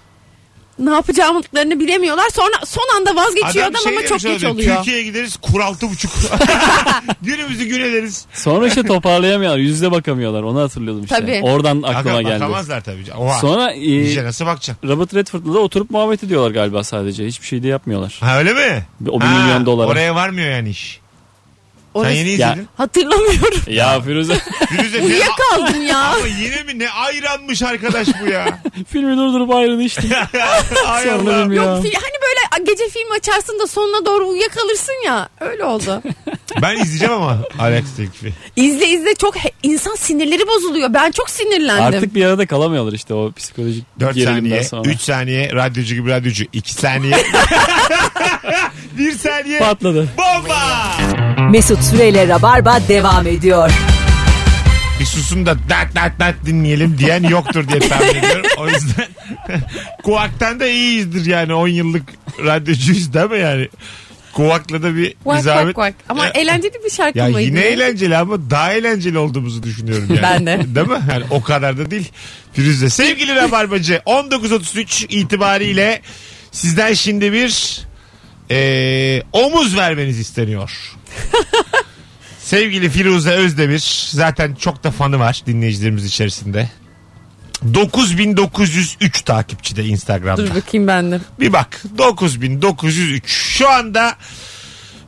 Speaker 2: ne yapacağımızlarını bilemiyorlar. Sonra son anda vazgeçiyor adam,
Speaker 4: bir şey
Speaker 2: ama çok
Speaker 4: demiş
Speaker 2: geç
Speaker 4: olabilir.
Speaker 2: oluyor.
Speaker 4: Türkiye'ye gideriz kur altı buçuk.
Speaker 2: *laughs*
Speaker 4: *laughs* Günümüzü gün ederiz.
Speaker 3: Sonra işte toparlayamıyorlar. Yüzde bakamıyorlar. Onu hatırlıyordum işte.
Speaker 2: Tabii.
Speaker 3: Oradan aklıma
Speaker 4: Aga,
Speaker 3: geldi.
Speaker 4: Bakamazlar tabii. Oha.
Speaker 3: Sonra e,
Speaker 4: İyice nasıl bakacaksın?
Speaker 3: Robert Redford'la da oturup muhabbet ediyorlar galiba sadece. Hiçbir şey de yapmıyorlar.
Speaker 4: Ha öyle mi?
Speaker 3: O bir
Speaker 4: Ha,
Speaker 3: milyon dolara.
Speaker 4: Oraya varmıyor yani iş.
Speaker 2: Orası-
Speaker 4: Sen yeni
Speaker 3: Ya.
Speaker 4: izledin. *laughs*
Speaker 2: Hatırlamıyorum.
Speaker 3: Ya *laughs* Firuze
Speaker 4: Firuze ne,
Speaker 2: Uyuyakaldım
Speaker 4: *laughs*
Speaker 2: ya.
Speaker 4: ama yine mi ne ayranmış arkadaş bu
Speaker 2: *laughs*
Speaker 4: ya.
Speaker 3: filmi durdurup ayrını içtim.
Speaker 4: Ay Allah.
Speaker 3: Sorunlarım ya.
Speaker 2: Yok fil- hani böyle gece film açarsın da sonuna doğru uyuyakalırsın ya. Öyle
Speaker 4: *laughs*
Speaker 2: oldu.
Speaker 4: Ben izleyeceğim ama Alex teklifi.
Speaker 2: izle izle çok he- insan sinirleri bozuluyor. Ben çok sinirlendim.
Speaker 3: Artık bir arada kalamıyorlar işte o psikolojik
Speaker 4: 4
Speaker 3: gerilimden
Speaker 4: saniye,
Speaker 3: sonra.
Speaker 4: 3 saniye radyocu gibi radyocu. 2 saniye. 1 saniye.
Speaker 3: Patladı.
Speaker 4: Bomba!
Speaker 1: Mesut Süreyle Rabarba devam ediyor.
Speaker 4: Bir susun da dat dat dat dinleyelim diyen yoktur diye tahmin ediyorum. O yüzden *laughs* kuvaktan da iyiyizdir yani 10 yıllık radyocuyuz değil mi yani? Kuvakla da bir
Speaker 2: Kuak, kuak,
Speaker 4: izamet.
Speaker 2: kuak. Ama
Speaker 4: Ya-
Speaker 2: eğlenceli bir şarkı
Speaker 4: Ya
Speaker 2: mıydı?
Speaker 4: yine eğlenceli ama daha eğlenceli olduğumuzu düşünüyorum yani.
Speaker 2: Ben de.
Speaker 4: Değil mi? Yani o kadar da değil. Firuze. Sevgili Rabarbacı
Speaker 2: *laughs*
Speaker 4: 19.33 itibariyle sizden şimdi bir eee, omuz vermeniz isteniyor.
Speaker 2: *laughs*
Speaker 4: Sevgili Firuze Özdemir zaten çok da fanı var dinleyicilerimiz içerisinde. 9903 takipçide Instagram'da.
Speaker 2: Dur bakayım ben de.
Speaker 4: Bir bak 9903 şu anda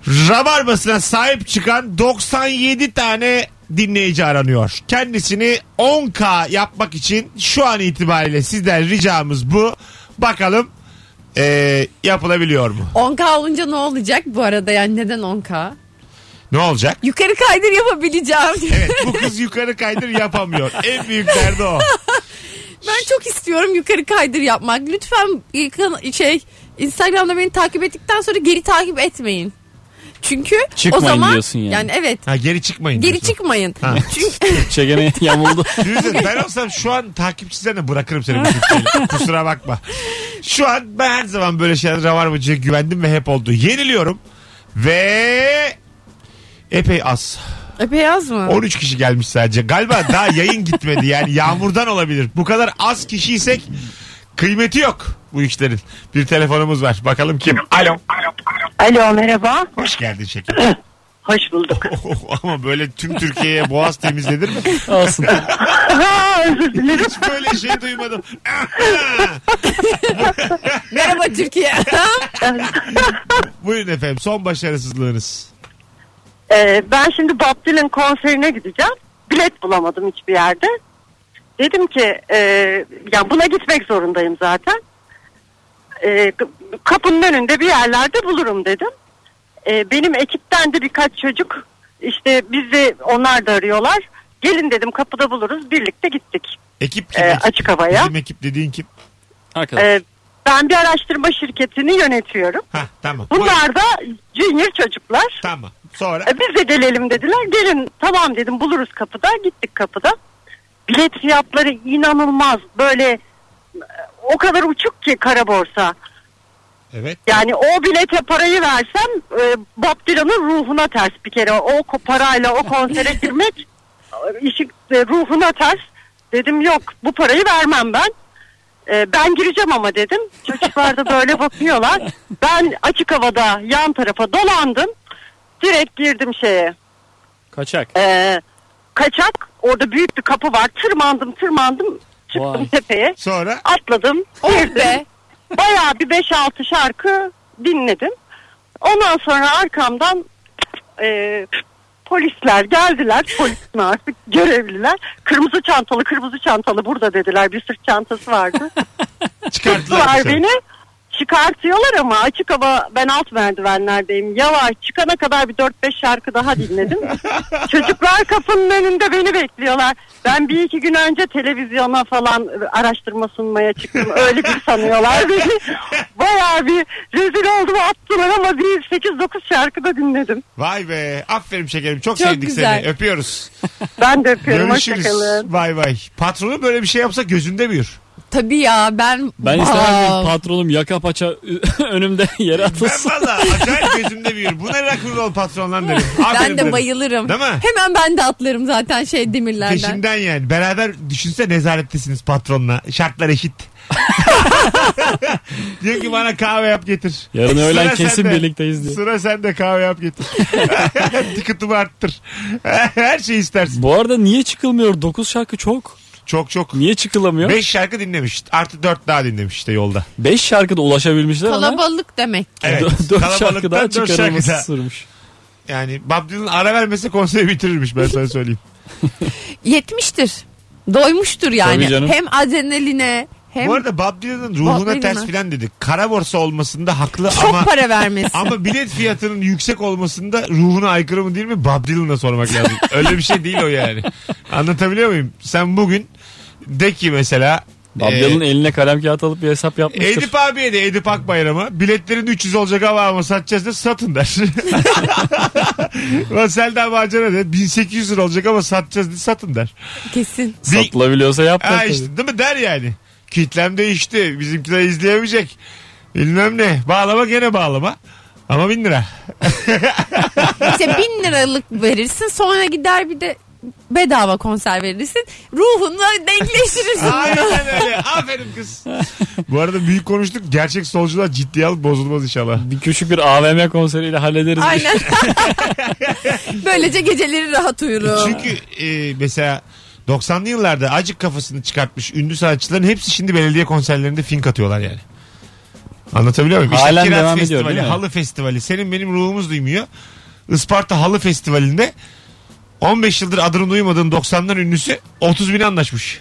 Speaker 4: Rabarbasına sahip çıkan 97 tane dinleyici aranıyor. Kendisini 10K yapmak için şu an itibariyle sizden ricamız bu. Bakalım eee, yapılabiliyor mu?
Speaker 2: 10K olunca ne olacak bu arada yani neden 10K?
Speaker 4: Ne olacak?
Speaker 2: Yukarı kaydır yapabileceğim.
Speaker 4: Evet bu kız yukarı kaydır yapamıyor. En büyük derdi o.
Speaker 2: ben çok istiyorum yukarı kaydır yapmak. Lütfen e, kan- şey Instagram'da beni takip ettikten sonra geri takip etmeyin. Çünkü
Speaker 3: Çıkmayın
Speaker 2: o zaman
Speaker 3: diyorsun yani.
Speaker 2: evet
Speaker 4: Ha geri çıkmayın.
Speaker 2: geri
Speaker 4: diyorsun.
Speaker 2: çıkmayın.
Speaker 4: Ha.
Speaker 2: Çünkü *laughs*
Speaker 4: *laughs*
Speaker 3: Türkçe gene yamuldu.
Speaker 4: Düşünsene ben olsam şu an takipçilerine bırakırım seni. bu Türkiye'yle. Kusura bakma. Şu an ben her zaman böyle şeyler var mı güvendim ve hep oldu. Yeniliyorum ve epey az.
Speaker 2: epey yaz mı?
Speaker 4: 13 kişi gelmiş sadece. Galiba daha yayın gitmedi yani yağmurdan olabilir. Bu kadar az kişiysek kıymeti yok bu işlerin. Bir telefonumuz var. Bakalım kim? Alo.
Speaker 8: Alo merhaba.
Speaker 4: Hoş geldin şeker.
Speaker 8: Hoş bulduk.
Speaker 4: Ama böyle tüm Türkiye'ye boğaz temizlenir mi?
Speaker 3: Olsun.
Speaker 8: Özür dilerim.
Speaker 4: Hiç böyle şey duymadım.
Speaker 8: *laughs*
Speaker 2: Merhaba Türkiye.
Speaker 4: Buyurun efendim son başarısızlığınız.
Speaker 8: Ee, ben şimdi Bob Dylan konserine gideceğim. Bilet bulamadım hiçbir yerde. Dedim ki e, ya buna gitmek zorundayım zaten. E, k- kapının önünde bir yerlerde bulurum dedim. E, benim ekipten de birkaç çocuk işte bizi onlar da arıyorlar. Gelin dedim kapıda buluruz birlikte gittik
Speaker 4: Ekip
Speaker 8: e,
Speaker 4: kim? ekip?
Speaker 8: açık havaya.
Speaker 4: Bizim ekip dediğin kim?
Speaker 3: Arkadaş.
Speaker 8: E, ben bir araştırma şirketini yönetiyorum.
Speaker 4: Ha tamam. Buyurun.
Speaker 8: Bunlar da junior çocuklar.
Speaker 4: Tamam. Sonra
Speaker 8: E, Biz de gelelim dediler. Gelin tamam dedim buluruz kapıda. Gittik kapıda. Bilet fiyatları inanılmaz. Böyle e, o kadar uçuk ki kara borsa.
Speaker 4: evet.
Speaker 8: Yani o bilete parayı versem e, Bob Dylan'ın ruhuna ters bir kere. O ko- parayla o konsere girmek e, işi e, ruhuna ters. Dedim yok bu parayı vermem ben. E, ben gireceğim ama dedim. Çocuklar da böyle bakıyorlar. Ben açık havada yan tarafa dolandım. Direkt girdim şeye.
Speaker 3: Kaçak.
Speaker 8: e, kaçak. Orada büyük bir kapı var. Tırmandım tırmandım. Çıktım
Speaker 3: Vay.
Speaker 8: tepeye.
Speaker 4: Sonra
Speaker 8: Atladım.
Speaker 2: oh
Speaker 8: girdim.
Speaker 2: be.
Speaker 8: Bayağı bir 5-6 şarkı dinledim. Ondan sonra arkamdan e, polisler geldiler. Polis mi artık görevliler. Kırmızı çantalı kırmızı çantalı burada dediler. Bir sırt çantası vardı.
Speaker 4: çıkarttılar.
Speaker 8: Tuttular
Speaker 4: dışarı.
Speaker 8: beni. Çıkartıyorlar ama açık hava ben alt merdivenlerdeyim. Yavaş çıkana kadar bir 4-5 şarkı daha dinledim. Çocuklar kapının önünde beni bekliyorlar. Ben bir iki gün önce televizyona falan araştırma sunmaya çıktım. Öyle bir sanıyorlar beni. Bayağı bir rezil oldum attılar ama bir 8-9 şarkı da dinledim.
Speaker 4: Vay be. Aferin şekerim. Çok,
Speaker 2: Çok
Speaker 4: sevdik
Speaker 2: güzel.
Speaker 4: seni. Öpüyoruz.
Speaker 8: Ben de öpüyorum.
Speaker 4: Görüşürüz.
Speaker 8: Hoşçakalın.
Speaker 4: Vay vay. Patronu böyle bir şey yapsa gözünde büyür.
Speaker 2: Tabii ya ben...
Speaker 3: Ben
Speaker 2: Aa,
Speaker 3: istemem ki patronum yaka paça *laughs* önümde yere
Speaker 4: Ben
Speaker 3: atılsın.
Speaker 4: valla acayip gözümde büyür. Bu ne rock'n'roll patron lan derim. Aferin
Speaker 2: Ben de
Speaker 4: derim.
Speaker 2: bayılırım.
Speaker 4: Değil mi?
Speaker 2: Hemen ben de atlarım zaten şey demirlerden.
Speaker 4: Peşinden yani. Beraber düşünse nezarettesiniz patronla.
Speaker 2: *laughs*
Speaker 4: Şartlar eşit. Diyor ki bana kahve yap getir.
Speaker 3: Yarın öğlen
Speaker 4: Sıra
Speaker 3: kesin
Speaker 4: sende.
Speaker 3: birlikteyiz diyor.
Speaker 4: Sıra sende kahve yap
Speaker 3: *laughs*
Speaker 4: getir. Tıkıtımı arttır. *laughs* Her şeyi istersin.
Speaker 3: Bu arada niye çıkılmıyor? 9 şarkı çok.
Speaker 4: Çok çok.
Speaker 3: Niye çıkılamıyor? 5
Speaker 4: Beş şarkı dinlemiş. Artı dört daha dinlemiş işte yolda.
Speaker 3: şarkıda ulaşabilmişler ama
Speaker 2: Kalabalık demek.
Speaker 4: Evet.
Speaker 3: *laughs* 4 şarkı daha
Speaker 4: Kalabalıktan dört şarkı daha.
Speaker 3: çıkarılması sürmüş.
Speaker 4: Yani Bob Dylan ara vermese konseri bitirirmiş ben sana söyleyeyim.
Speaker 2: Yetmiştir. Doymuştur
Speaker 3: Tabii
Speaker 2: yani.
Speaker 3: canım.
Speaker 2: Hem adrenaline hem
Speaker 4: Bu arada Bob Dylan'ın ruhuna
Speaker 2: Bob Dylan'a.
Speaker 4: ters filan dedi. Kara borsa olmasında haklı
Speaker 2: çok
Speaker 4: ama
Speaker 2: para
Speaker 4: *laughs*
Speaker 2: vermesi.
Speaker 4: ama bilet fiyatının yüksek olmasında ruhuna aykırı mı değil mi Bob Dylan'a sormak lazım. Öyle bir şey değil o yani. Anlatabiliyor muyum? Sen bugün de ki mesela e,
Speaker 3: Abdal'ın eline kalem kağıt alıp bir hesap yapmıştır.
Speaker 4: Edip abiye de Edip Akbayram'a biletlerin 300 olacak ama ama satacağız da satın *laughs* der. Vassel Davacan'a de 1800 lira olacak ama satacağız da satın der.
Speaker 2: Kesin.
Speaker 4: Bir-
Speaker 3: Satılabiliyorsa yap da
Speaker 4: Ha
Speaker 3: tabii.
Speaker 4: işte değil mi der yani. Kitlem değişti. Bizimkiler izleyemeyecek. Bilmem ne. Bağlama gene bağlama. Ama bin lira.
Speaker 2: İşte bin liralık verirsin sonra gider bir de bedava konser verirsin. Ruhunla denkleştirirsin bunu.
Speaker 4: Aynen öyle. Aferin kız. Bu arada büyük konuştuk. Gerçek solcular ciddiye alıp bozulmaz inşallah.
Speaker 3: Bir küçük bir AVM konseriyle hallederiz.
Speaker 2: Aynen. *laughs* Böylece geceleri rahat uyurum.
Speaker 4: Çünkü e, mesela 90'lı yıllarda acık kafasını çıkartmış ünlü sanatçıların hepsi şimdi belediye konserlerinde fink atıyorlar yani. Anlatabiliyor muyum?
Speaker 3: Halen
Speaker 4: Kiraz
Speaker 3: devam ediyor,
Speaker 4: Festivali,
Speaker 3: değil mi?
Speaker 4: Halı Festivali. Senin benim ruhumuz duymuyor. Isparta Halı Festivali'nde 15 yıldır adını duymadığın 90'lar ünlüsü 30 bin anlaşmış.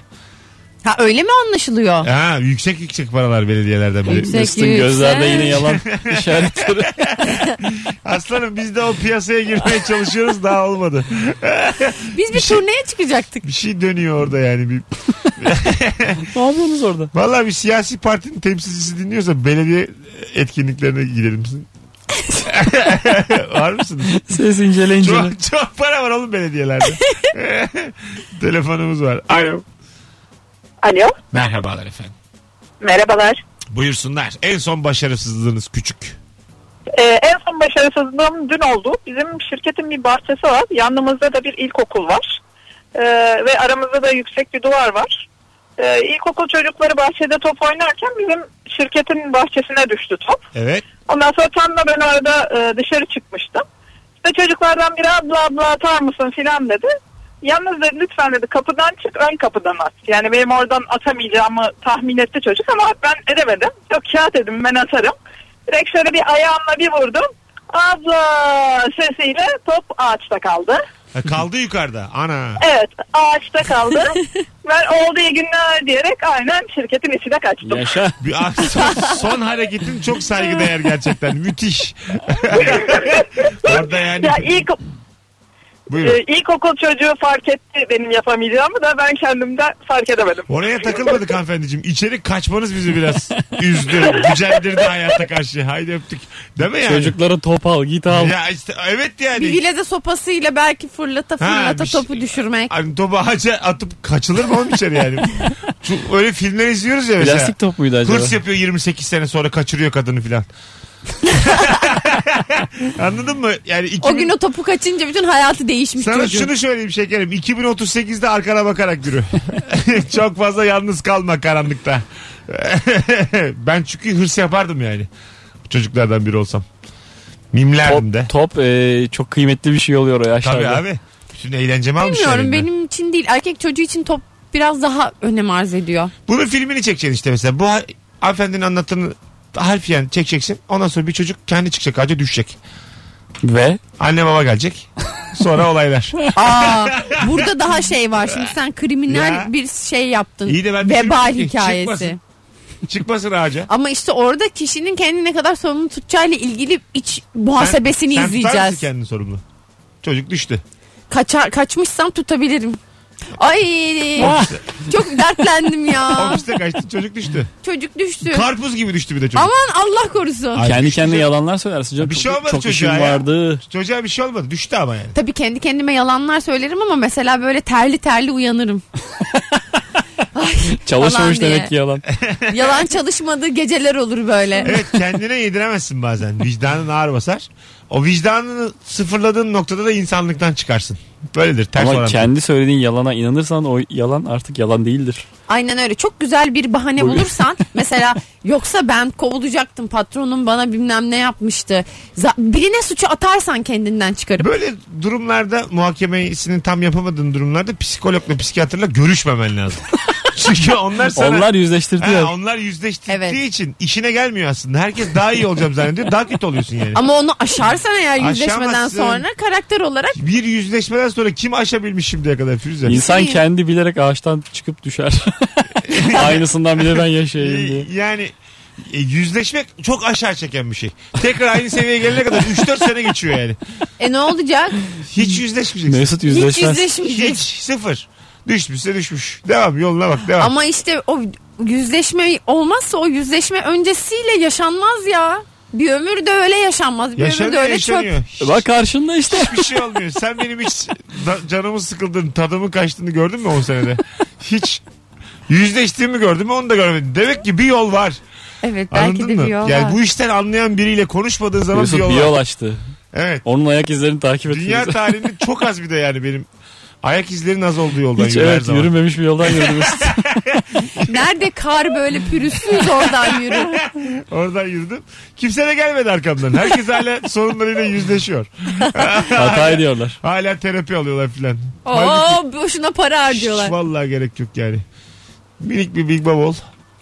Speaker 2: Ha öyle mi anlaşılıyor?
Speaker 4: Ha, yüksek yüksek paralar belediyelerden biri.
Speaker 2: Yüksek,
Speaker 3: Mesut'un gözlerde
Speaker 2: yüksek.
Speaker 3: yine *laughs* yalan işaretleri.
Speaker 4: Aslanım biz de o piyasaya girmeye çalışıyoruz daha olmadı.
Speaker 2: Biz bir, turneye çıkacaktık.
Speaker 4: Bir şey dönüyor orada yani. Bir,
Speaker 3: ne yapıyorsunuz orada?
Speaker 4: vallahi bir siyasi partinin temsilcisi dinliyorsa belediye etkinliklerine gidelim *laughs* misin? var mısınız?
Speaker 3: Ses incele incele.
Speaker 4: Çok, çok para var oğlum belediyelerde. *laughs* Telefonumuz var. Alo.
Speaker 9: Alo
Speaker 4: Merhabalar efendim.
Speaker 9: merhabalar.
Speaker 4: Buyursunlar. En son başarısızlığınız küçük.
Speaker 9: Ee, en son başarısızlığım dün oldu. Bizim şirketin bir bahçesi var. Yanımızda da bir ilkokul var. Ee, ve aramızda da yüksek bir duvar var. Ee, ilkokul çocukları bahçede top oynarken bizim şirketin bahçesine düştü top.
Speaker 4: Evet.
Speaker 9: Ondan sonra tam da ben arada e, dışarı çıkmıştım. İşte çocuklardan biri abla abla atar mısın filan dedi. Yalnız dedi lütfen dedi kapıdan çık ön kapıdan at. Yani benim oradan atamayacağımı tahmin etti çocuk ama ben edemedim. Yok kağıt dedim ben atarım. Direkt şöyle bir ayağımla bir vurdum. Abla sesiyle top ağaçta kaldı.
Speaker 4: Ha, kaldı yukarıda. Ana.
Speaker 9: Evet ağaçta kaldı. ben oldu iyi günler diyerek aynen şirketin içine kaçtım.
Speaker 3: Yaşa.
Speaker 4: Bir, *laughs* ah, son, son hareketin çok saygıdeğer gerçekten. *laughs* Müthiş. Orada yani.
Speaker 9: ya ilk
Speaker 4: Buyurun.
Speaker 9: Ee, ilkokul çocuğu fark etti benim yapamayacağımı da ben kendimden fark edemedim.
Speaker 4: Oraya takılmadık hanımefendiciğim. İçeri kaçmanız
Speaker 2: *laughs*
Speaker 4: bizi biraz üzdü. Gücendirdi hayata karşı. Haydi öptük. Değil mi yani?
Speaker 3: Çocuklara top al git al.
Speaker 4: Ya işte evet yani.
Speaker 2: Bir vilede sopasıyla belki fırlata fırlata
Speaker 4: bir şey-
Speaker 2: topu düşürmek.
Speaker 4: Hani topu ağaca atıp kaçılır mı oğlum içeri yani? Şu, öyle filmler izliyoruz ya mesela.
Speaker 3: Plastik top muydu acaba?
Speaker 4: Hırs yapıyor 28 sene sonra kaçırıyor
Speaker 2: *laughs*
Speaker 4: kadını filan. Anladın mı? Yani
Speaker 2: O
Speaker 4: 2000
Speaker 2: gün o topu kaçınca bütün hayatı değişmiş
Speaker 4: Sana
Speaker 2: çocuğun.
Speaker 4: şunu söyleyeyim şekerim. 2038'de arkana bakarak yürü. Çok fazla yalnız kalma karanlıkta. *laughs* ben çünkü hırs yapardım yani. Çocuklardan biri olsam. Mimlerdim de.
Speaker 3: Top, top e, çok kıymetli bir şey oluyor o yaşlarda.
Speaker 4: Tabii abi. Bütün eğlencemi almışlar.
Speaker 2: Bilmiyorum
Speaker 4: eline.
Speaker 2: benim için değil. Erkek çocuğu için top biraz daha önem arz
Speaker 4: *laughs*
Speaker 2: ediyor.
Speaker 4: Bunun filmini çekeceksin işte mesela. Bu ha- hanımefendinin anlattığını harfiyen çekeceksin. Ondan sonra bir çocuk kendi çıkacak ağaca düşecek.
Speaker 3: Ve
Speaker 4: Anne baba gelecek.
Speaker 2: *laughs*
Speaker 4: Sonra olaylar.
Speaker 2: Aa, burada daha şey var. Şimdi sen kriminal
Speaker 4: Ya.
Speaker 2: bir şey yaptın.
Speaker 4: İyi de ben
Speaker 2: Vebal
Speaker 4: düşünüyorum ki
Speaker 2: hikayesi.
Speaker 4: çıkmasın. Çıkmasın ağaca.
Speaker 2: Ama işte orada kişinin kendini ne kadar sorumlu tutacağıyla ilgili iç muhasebesini
Speaker 4: sen, Sen tutar
Speaker 2: izleyeceğiz.
Speaker 4: mısın kendini sorumlu? Çocuk düştü.
Speaker 2: Kaçar, kaçmışsam tutabilirim. Ay çok dertlendim
Speaker 4: *laughs*
Speaker 2: ya.
Speaker 4: Ofiste kaçtı çocuk düştü.
Speaker 2: Çocuk *laughs* düştü.
Speaker 4: Karpuz gibi düştü bir de çocuk.
Speaker 2: Aman Allah korusun.
Speaker 4: Ay,
Speaker 3: kendi
Speaker 4: bir şey-
Speaker 3: kendine yalanlar söylersin canım.
Speaker 4: Bir şey
Speaker 3: Çok-
Speaker 4: olmadı
Speaker 3: Çok işim
Speaker 4: çocuğa ya.
Speaker 3: vardı.
Speaker 4: Çocuğa bir şey olmadı. Düştü ama yani.
Speaker 2: Tabii kendi kendime yalanlar söylerim ama mesela böyle terli terli uyanırım.
Speaker 3: Çalışmamış
Speaker 2: Falan
Speaker 3: demek ki yalan.
Speaker 4: *laughs*
Speaker 2: Yalan çalışmadığı geceler olur böyle.
Speaker 4: Evet kendine yediremezsin bazen. Vicdanın ağır basar. O vicdanını sıfırladığın noktada da insanlıktan çıkarsın. Böyledir. Ters
Speaker 3: Ama
Speaker 4: orantılı.
Speaker 3: kendi söylediğin yalana inanırsan o yalan artık yalan değildir.
Speaker 2: Aynen öyle. Çok güzel bir bahane bulursan mesela yoksa ben kovulacaktım patronum bana bilmem ne yapmıştı. Za- birine suçu atarsan kendinden çıkarıp.
Speaker 4: Böyle durumlarda muhakemesini tam yapamadığın durumlarda psikologla psikiyatrla görüşmemen lazım.
Speaker 2: *laughs*
Speaker 4: Çünkü onlar sana...
Speaker 3: Onlar yüzleştirdiler.
Speaker 4: Ha, onlar yüzleştirdiği
Speaker 2: Evet.
Speaker 4: için işine gelmiyor aslında. Herkes daha iyi olacağım zannediyor. Daha kötü oluyorsun yani.
Speaker 2: Ama onu aşarsan eğer yüzleşmeden
Speaker 4: Aşamazsın.
Speaker 2: sonra karakter olarak
Speaker 4: Bir yüzleşmeden sonra kim aşabilmiş şimdiye kadar Firuze?
Speaker 3: İnsan
Speaker 2: İyi.
Speaker 3: kendi bilerek ağaçtan
Speaker 4: *laughs*
Speaker 3: çıkıp düşer. Aynısından bile ben yaşayayım diye.
Speaker 4: Ee, Yani e, yüzleşmek çok aşağı çeken bir şey. Tekrar aynı seviyeye gelene kadar 3-4 sene geçiyor yani.
Speaker 2: e ne
Speaker 4: *laughs*
Speaker 2: olacak?
Speaker 4: Hiç yüzleşmeyeceksin.
Speaker 3: Mesut
Speaker 2: Hiç
Speaker 3: yüzleşmez.
Speaker 4: Hiç
Speaker 2: yüzleşmeyecek.
Speaker 4: sıfır. Düşmüşse düşmüş. Devam yoluna bak devam.
Speaker 2: Ama işte o yüzleşme olmazsa o yüzleşme öncesiyle yaşanmaz ya. Bir ömür de öyle yaşanmaz. Bir ömür de
Speaker 4: yaşanıyor
Speaker 2: öyle çöp.
Speaker 4: yaşanıyor.
Speaker 3: Bak karşında işte.
Speaker 4: Hiçbir şey olmuyor. Sen benim hiç da- canımın sıkıldığını, tadımın kaçtığını gördün mü 10 senede? Hiç yüzleştiğimi gördün mü onu da görmedim. Demek ki bir yol var.
Speaker 2: Evet belki
Speaker 4: Anladın
Speaker 2: de
Speaker 4: mı?
Speaker 2: bir yol
Speaker 4: yani
Speaker 2: var.
Speaker 4: bu işten anlayan biriyle konuşmadığın zaman
Speaker 3: Mesut
Speaker 4: bir yol,
Speaker 3: bir yol
Speaker 4: var.
Speaker 3: açtı.
Speaker 4: Evet.
Speaker 3: Onun ayak izlerini takip et.
Speaker 4: Dünya
Speaker 3: Firuze.
Speaker 4: tarihinde çok az bir de yani benim ayak izlerin az olduğu yoldan
Speaker 3: *laughs* Hiç
Speaker 4: yürü her
Speaker 3: evet
Speaker 4: zaman.
Speaker 3: yürümemiş bir yoldan yürüdü Mesut.
Speaker 4: *laughs*
Speaker 2: Nerede kar böyle pürüzsüz oradan yürü.
Speaker 4: Oradan yürüdüm. Kimse de gelmedi arkamdan. Herkes
Speaker 3: *laughs*
Speaker 4: hala sorunlarıyla yüzleşiyor.
Speaker 3: Hata ediyorlar.
Speaker 4: Hala terapi alıyorlar filan. Halbuki
Speaker 2: Oo boşuna para
Speaker 4: hiç
Speaker 2: harcıyorlar.
Speaker 4: Vallahi gerek yok yani. Minik bir Big Bob ol.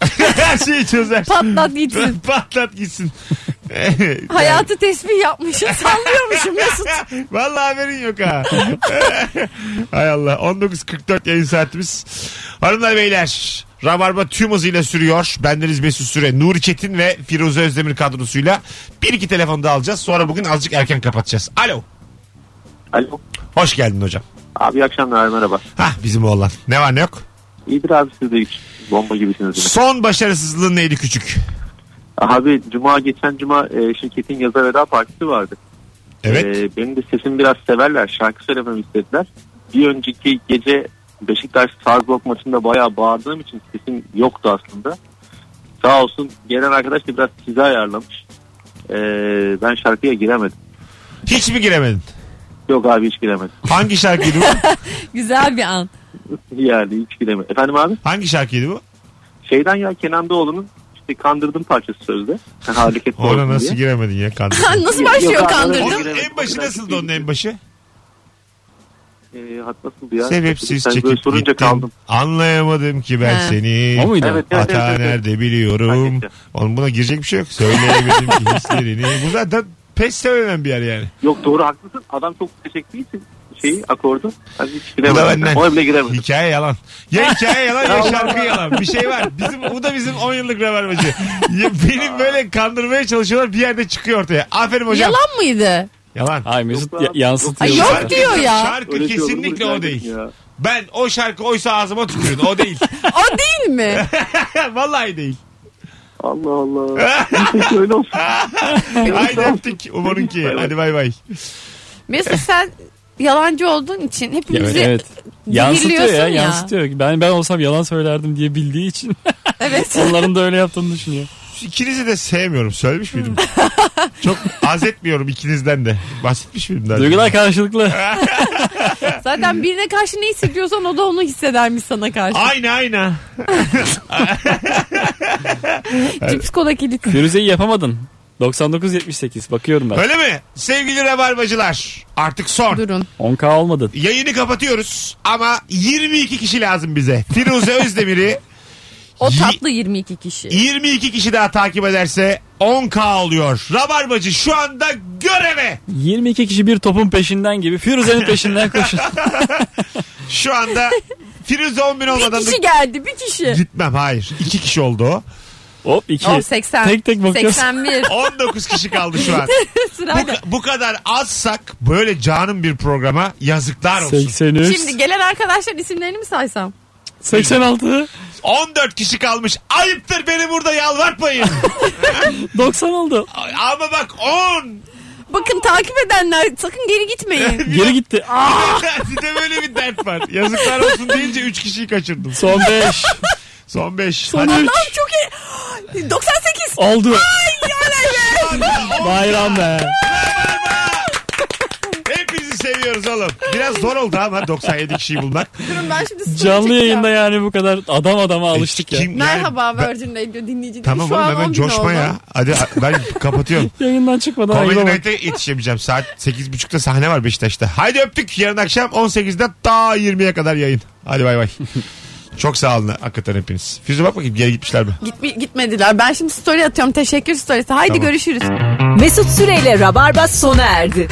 Speaker 4: *laughs* Her şeyi çözer.
Speaker 2: Patlat gitsin.
Speaker 4: *laughs* Patlat gitsin.
Speaker 2: Hayatı tesbih yapmışım sallıyormuşum Mesut.
Speaker 4: *laughs* Vallahi haberin yok ha. *laughs* Hay Allah. 19.44 yayın saatimiz. Hanımlar beyler. Rabarba tüm hızıyla sürüyor. Bendeniz Mesut Süre, Nuri Çetin ve Firuze Özdemir kadrosuyla bir iki telefonu da alacağız. Sonra bugün azıcık erken kapatacağız. Alo.
Speaker 10: Alo.
Speaker 4: Hoş geldin hocam.
Speaker 10: Abi iyi akşamlar merhaba.
Speaker 4: Hah bizim oğlan. Ne var ne yok?
Speaker 10: İyidir abi siz de hiç bomba gibisiniz. yine.
Speaker 4: Son başarısızlığın neydi küçük?
Speaker 10: Abi cuma geçen cuma e, şirketin yazar veda partisi vardı.
Speaker 4: Evet.
Speaker 10: E, benim de sesimi biraz severler. Şarkı söylememi istediler. Bir önceki gece Beşiktaş Sargok maçında bayağı bağırdığım için sesim yoktu aslında. Sağ olsun gelen arkadaş da biraz size ayarlamış. E, ben şarkıya giremedim.
Speaker 4: Hiç mi giremedin?
Speaker 10: Yok abi hiç giremedim.
Speaker 4: Hangi şarkıydı bu?
Speaker 2: Güzel bir an.
Speaker 10: Yani hiç giremedim. Efendim abi?
Speaker 4: Hangi şarkıydı bu?
Speaker 10: Şeyden ya Kenan Doğulu'nun işte kandırdım parçası sözde. Hareket
Speaker 4: *laughs* Ona
Speaker 10: olsun
Speaker 4: nasıl
Speaker 10: diye.
Speaker 4: giremedin ya kardeşim?
Speaker 2: Ha, Nasıl
Speaker 10: Yok,
Speaker 2: başlıyor
Speaker 10: yok,
Speaker 2: kandırdın?
Speaker 10: anlamadım.
Speaker 4: Onun en başı nasıldı onun en başı?
Speaker 10: E, hat nasıldı ya?
Speaker 4: Sebepsiz
Speaker 10: Sen böyle
Speaker 4: çekip
Speaker 10: sorunca
Speaker 4: gittim.
Speaker 10: kaldım.
Speaker 4: Anlayamadım ki ben
Speaker 2: He.
Speaker 4: seni.
Speaker 3: O muydu?
Speaker 10: Evet, evet,
Speaker 4: Hata
Speaker 10: evet, evet.
Speaker 4: nerede biliyorum.
Speaker 10: Hangisi?
Speaker 4: Oğlum buna girecek bir şey yok. Söyleyemedim ki hislerini. Bu zaten pes söylenen bir yer yani.
Speaker 10: Yok doğru haklısın. Adam çok teşekkür için şeyi akordu. Hani hiç
Speaker 4: Bu da
Speaker 10: giremedim.
Speaker 4: benden.
Speaker 10: O bile giremedim.
Speaker 4: Hikaye yalan. Ya
Speaker 10: *laughs*
Speaker 4: hikaye yalan ya şarkı yalan. Bir şey var. Bizim, bu da bizim 10 yıllık rövermacı. Ya Beni böyle kandırmaya çalışıyorlar. Bir yerde çıkıyor ortaya. Aferin hocam.
Speaker 2: Yalan mıydı?
Speaker 4: Yalan.
Speaker 3: Ay Mesut
Speaker 10: Yok lan.
Speaker 3: ya-
Speaker 2: Ay,
Speaker 3: yansıtıyor. zaten.
Speaker 2: yok diyor ya.
Speaker 4: Şarkı
Speaker 10: Öyle şey olur mu?
Speaker 4: kesinlikle
Speaker 10: Rica
Speaker 4: o değil.
Speaker 10: ederim ya.
Speaker 4: Ben o şarkı oysa ağzıma tükürün. O değil.
Speaker 2: O değil mi?
Speaker 4: *laughs* Vallahi değil.
Speaker 10: Allah
Speaker 4: *laughs*
Speaker 10: Allah. Neyse, Öyle olsun.
Speaker 4: Haydi öptük. Umarım ki.
Speaker 10: Bay bay.
Speaker 4: Hadi bay bay.
Speaker 2: Mesut sen yalancı olduğun için
Speaker 3: Ya,
Speaker 2: hepimizi
Speaker 3: evet. Yansıtıyor
Speaker 2: zehirliyorsun
Speaker 3: ya,
Speaker 2: ya.
Speaker 3: yansıtıyor. Ben ben olsam yalan söylerdim diye bildiği için. *laughs*
Speaker 2: Evet.
Speaker 3: Onların da öyle yaptığını düşünüyor.
Speaker 4: İkinizi de sevmiyorum. Söylemiş miydim? Çok az etmiyorum ikinizden de. Bahsetmiş miydim daha? önce? *laughs*
Speaker 3: Duygular karşılıklı.
Speaker 2: Zaten birine karşı ne hissediyorsan o da onu hissedermiş sana karşı.
Speaker 4: Aynı aynı.
Speaker 2: Cips kola kilit.
Speaker 3: Firuze'yi yapamadın. 99-78 bakıyorum ben.
Speaker 4: Öyle mi? Sevgili rabarbacılar artık son.
Speaker 3: 10K olmadın.
Speaker 4: Yayını kapatıyoruz ama 22 kişi lazım bize. Firuze Özdemir'i
Speaker 2: O
Speaker 4: Yi-
Speaker 2: tatlı 22 kişi.
Speaker 4: 22 kişi daha takip ederse 10K oluyor. Rabarbacı şu anda göreve.
Speaker 3: 22 kişi bir topun peşinden gibi Firuze'nin
Speaker 4: *laughs*
Speaker 3: peşinden koşun.
Speaker 4: Şu anda Firuze 10.000
Speaker 2: Bir
Speaker 4: olmadan da
Speaker 2: kişi geldi bir kişi.
Speaker 4: gitmem. Hayır. 2 kişi oldu o.
Speaker 3: Hop 2.
Speaker 2: Oh 80.
Speaker 3: Tek tek
Speaker 4: *laughs*
Speaker 3: bakıyoruz.
Speaker 2: 81
Speaker 4: 19 kişi kaldı şu an.
Speaker 2: *laughs* sırayla.
Speaker 4: Bu kadar azsak böyle canım bir programa yazıklar olsun.
Speaker 3: 83.
Speaker 2: Şimdi gelen arkadaşlar isimlerini mi saysam?
Speaker 3: 86.
Speaker 4: 14 kişi kalmış. Ayıptır beni burada
Speaker 3: *laughs*
Speaker 4: yalvartmayın.
Speaker 3: 90 oldu.
Speaker 4: Ama bak 10.
Speaker 2: Bakın takip edenler sakın geri *laughs* gitmeyin.
Speaker 3: Geri gitti.
Speaker 4: Ah! *laughs* Bir de böyle bir dert var. Yazıklar olsun deyince 3 kişiyi kaçırdım.
Speaker 3: Son 5.
Speaker 4: Son 5.
Speaker 3: Son
Speaker 4: Hadi.
Speaker 3: 3.
Speaker 2: Allah'ım çok iyi. *gasps* 98.
Speaker 3: Oldu.
Speaker 4: Hadi.
Speaker 3: Bayram be.
Speaker 4: Hepinizi seviyoruz oğlum. Biraz zor oldu ama 97 kişiyi bulmak.
Speaker 2: Durun ben şimdi sıfırı
Speaker 3: Canlı
Speaker 2: çekeceğim.
Speaker 3: yayında yani bu kadar adam adama alıştık ya.
Speaker 4: Kim- yani
Speaker 2: Merhaba
Speaker 4: ben-
Speaker 2: Virgin Radio dinleyicileri.
Speaker 4: Tamam
Speaker 2: Şu
Speaker 4: oğlum
Speaker 2: an
Speaker 4: hemen
Speaker 2: 10 bin
Speaker 4: coşma
Speaker 2: oldu.
Speaker 4: ya. Hadi ben kapatıyorum.
Speaker 3: Yayından çıkmadan
Speaker 4: Comedy
Speaker 3: ayrılamam.
Speaker 4: Night'e yetişemeyeceğim. Saat 8.30'da sahne var Beşiktaş'ta. Haydi öptük. Yarın akşam 18'den ta 20'ye kadar yayın. Hadi bay bay. Çok sağ olun hakikaten hepiniz. Füze bak bakayım geri gitmişler mi?
Speaker 2: Gitme- gitmediler. Ben şimdi story atıyorum. Teşekkür storiesi. Haydi
Speaker 4: Tamam.
Speaker 2: görüşürüz.
Speaker 1: Mesut Süreyle Rabarba sona erdi.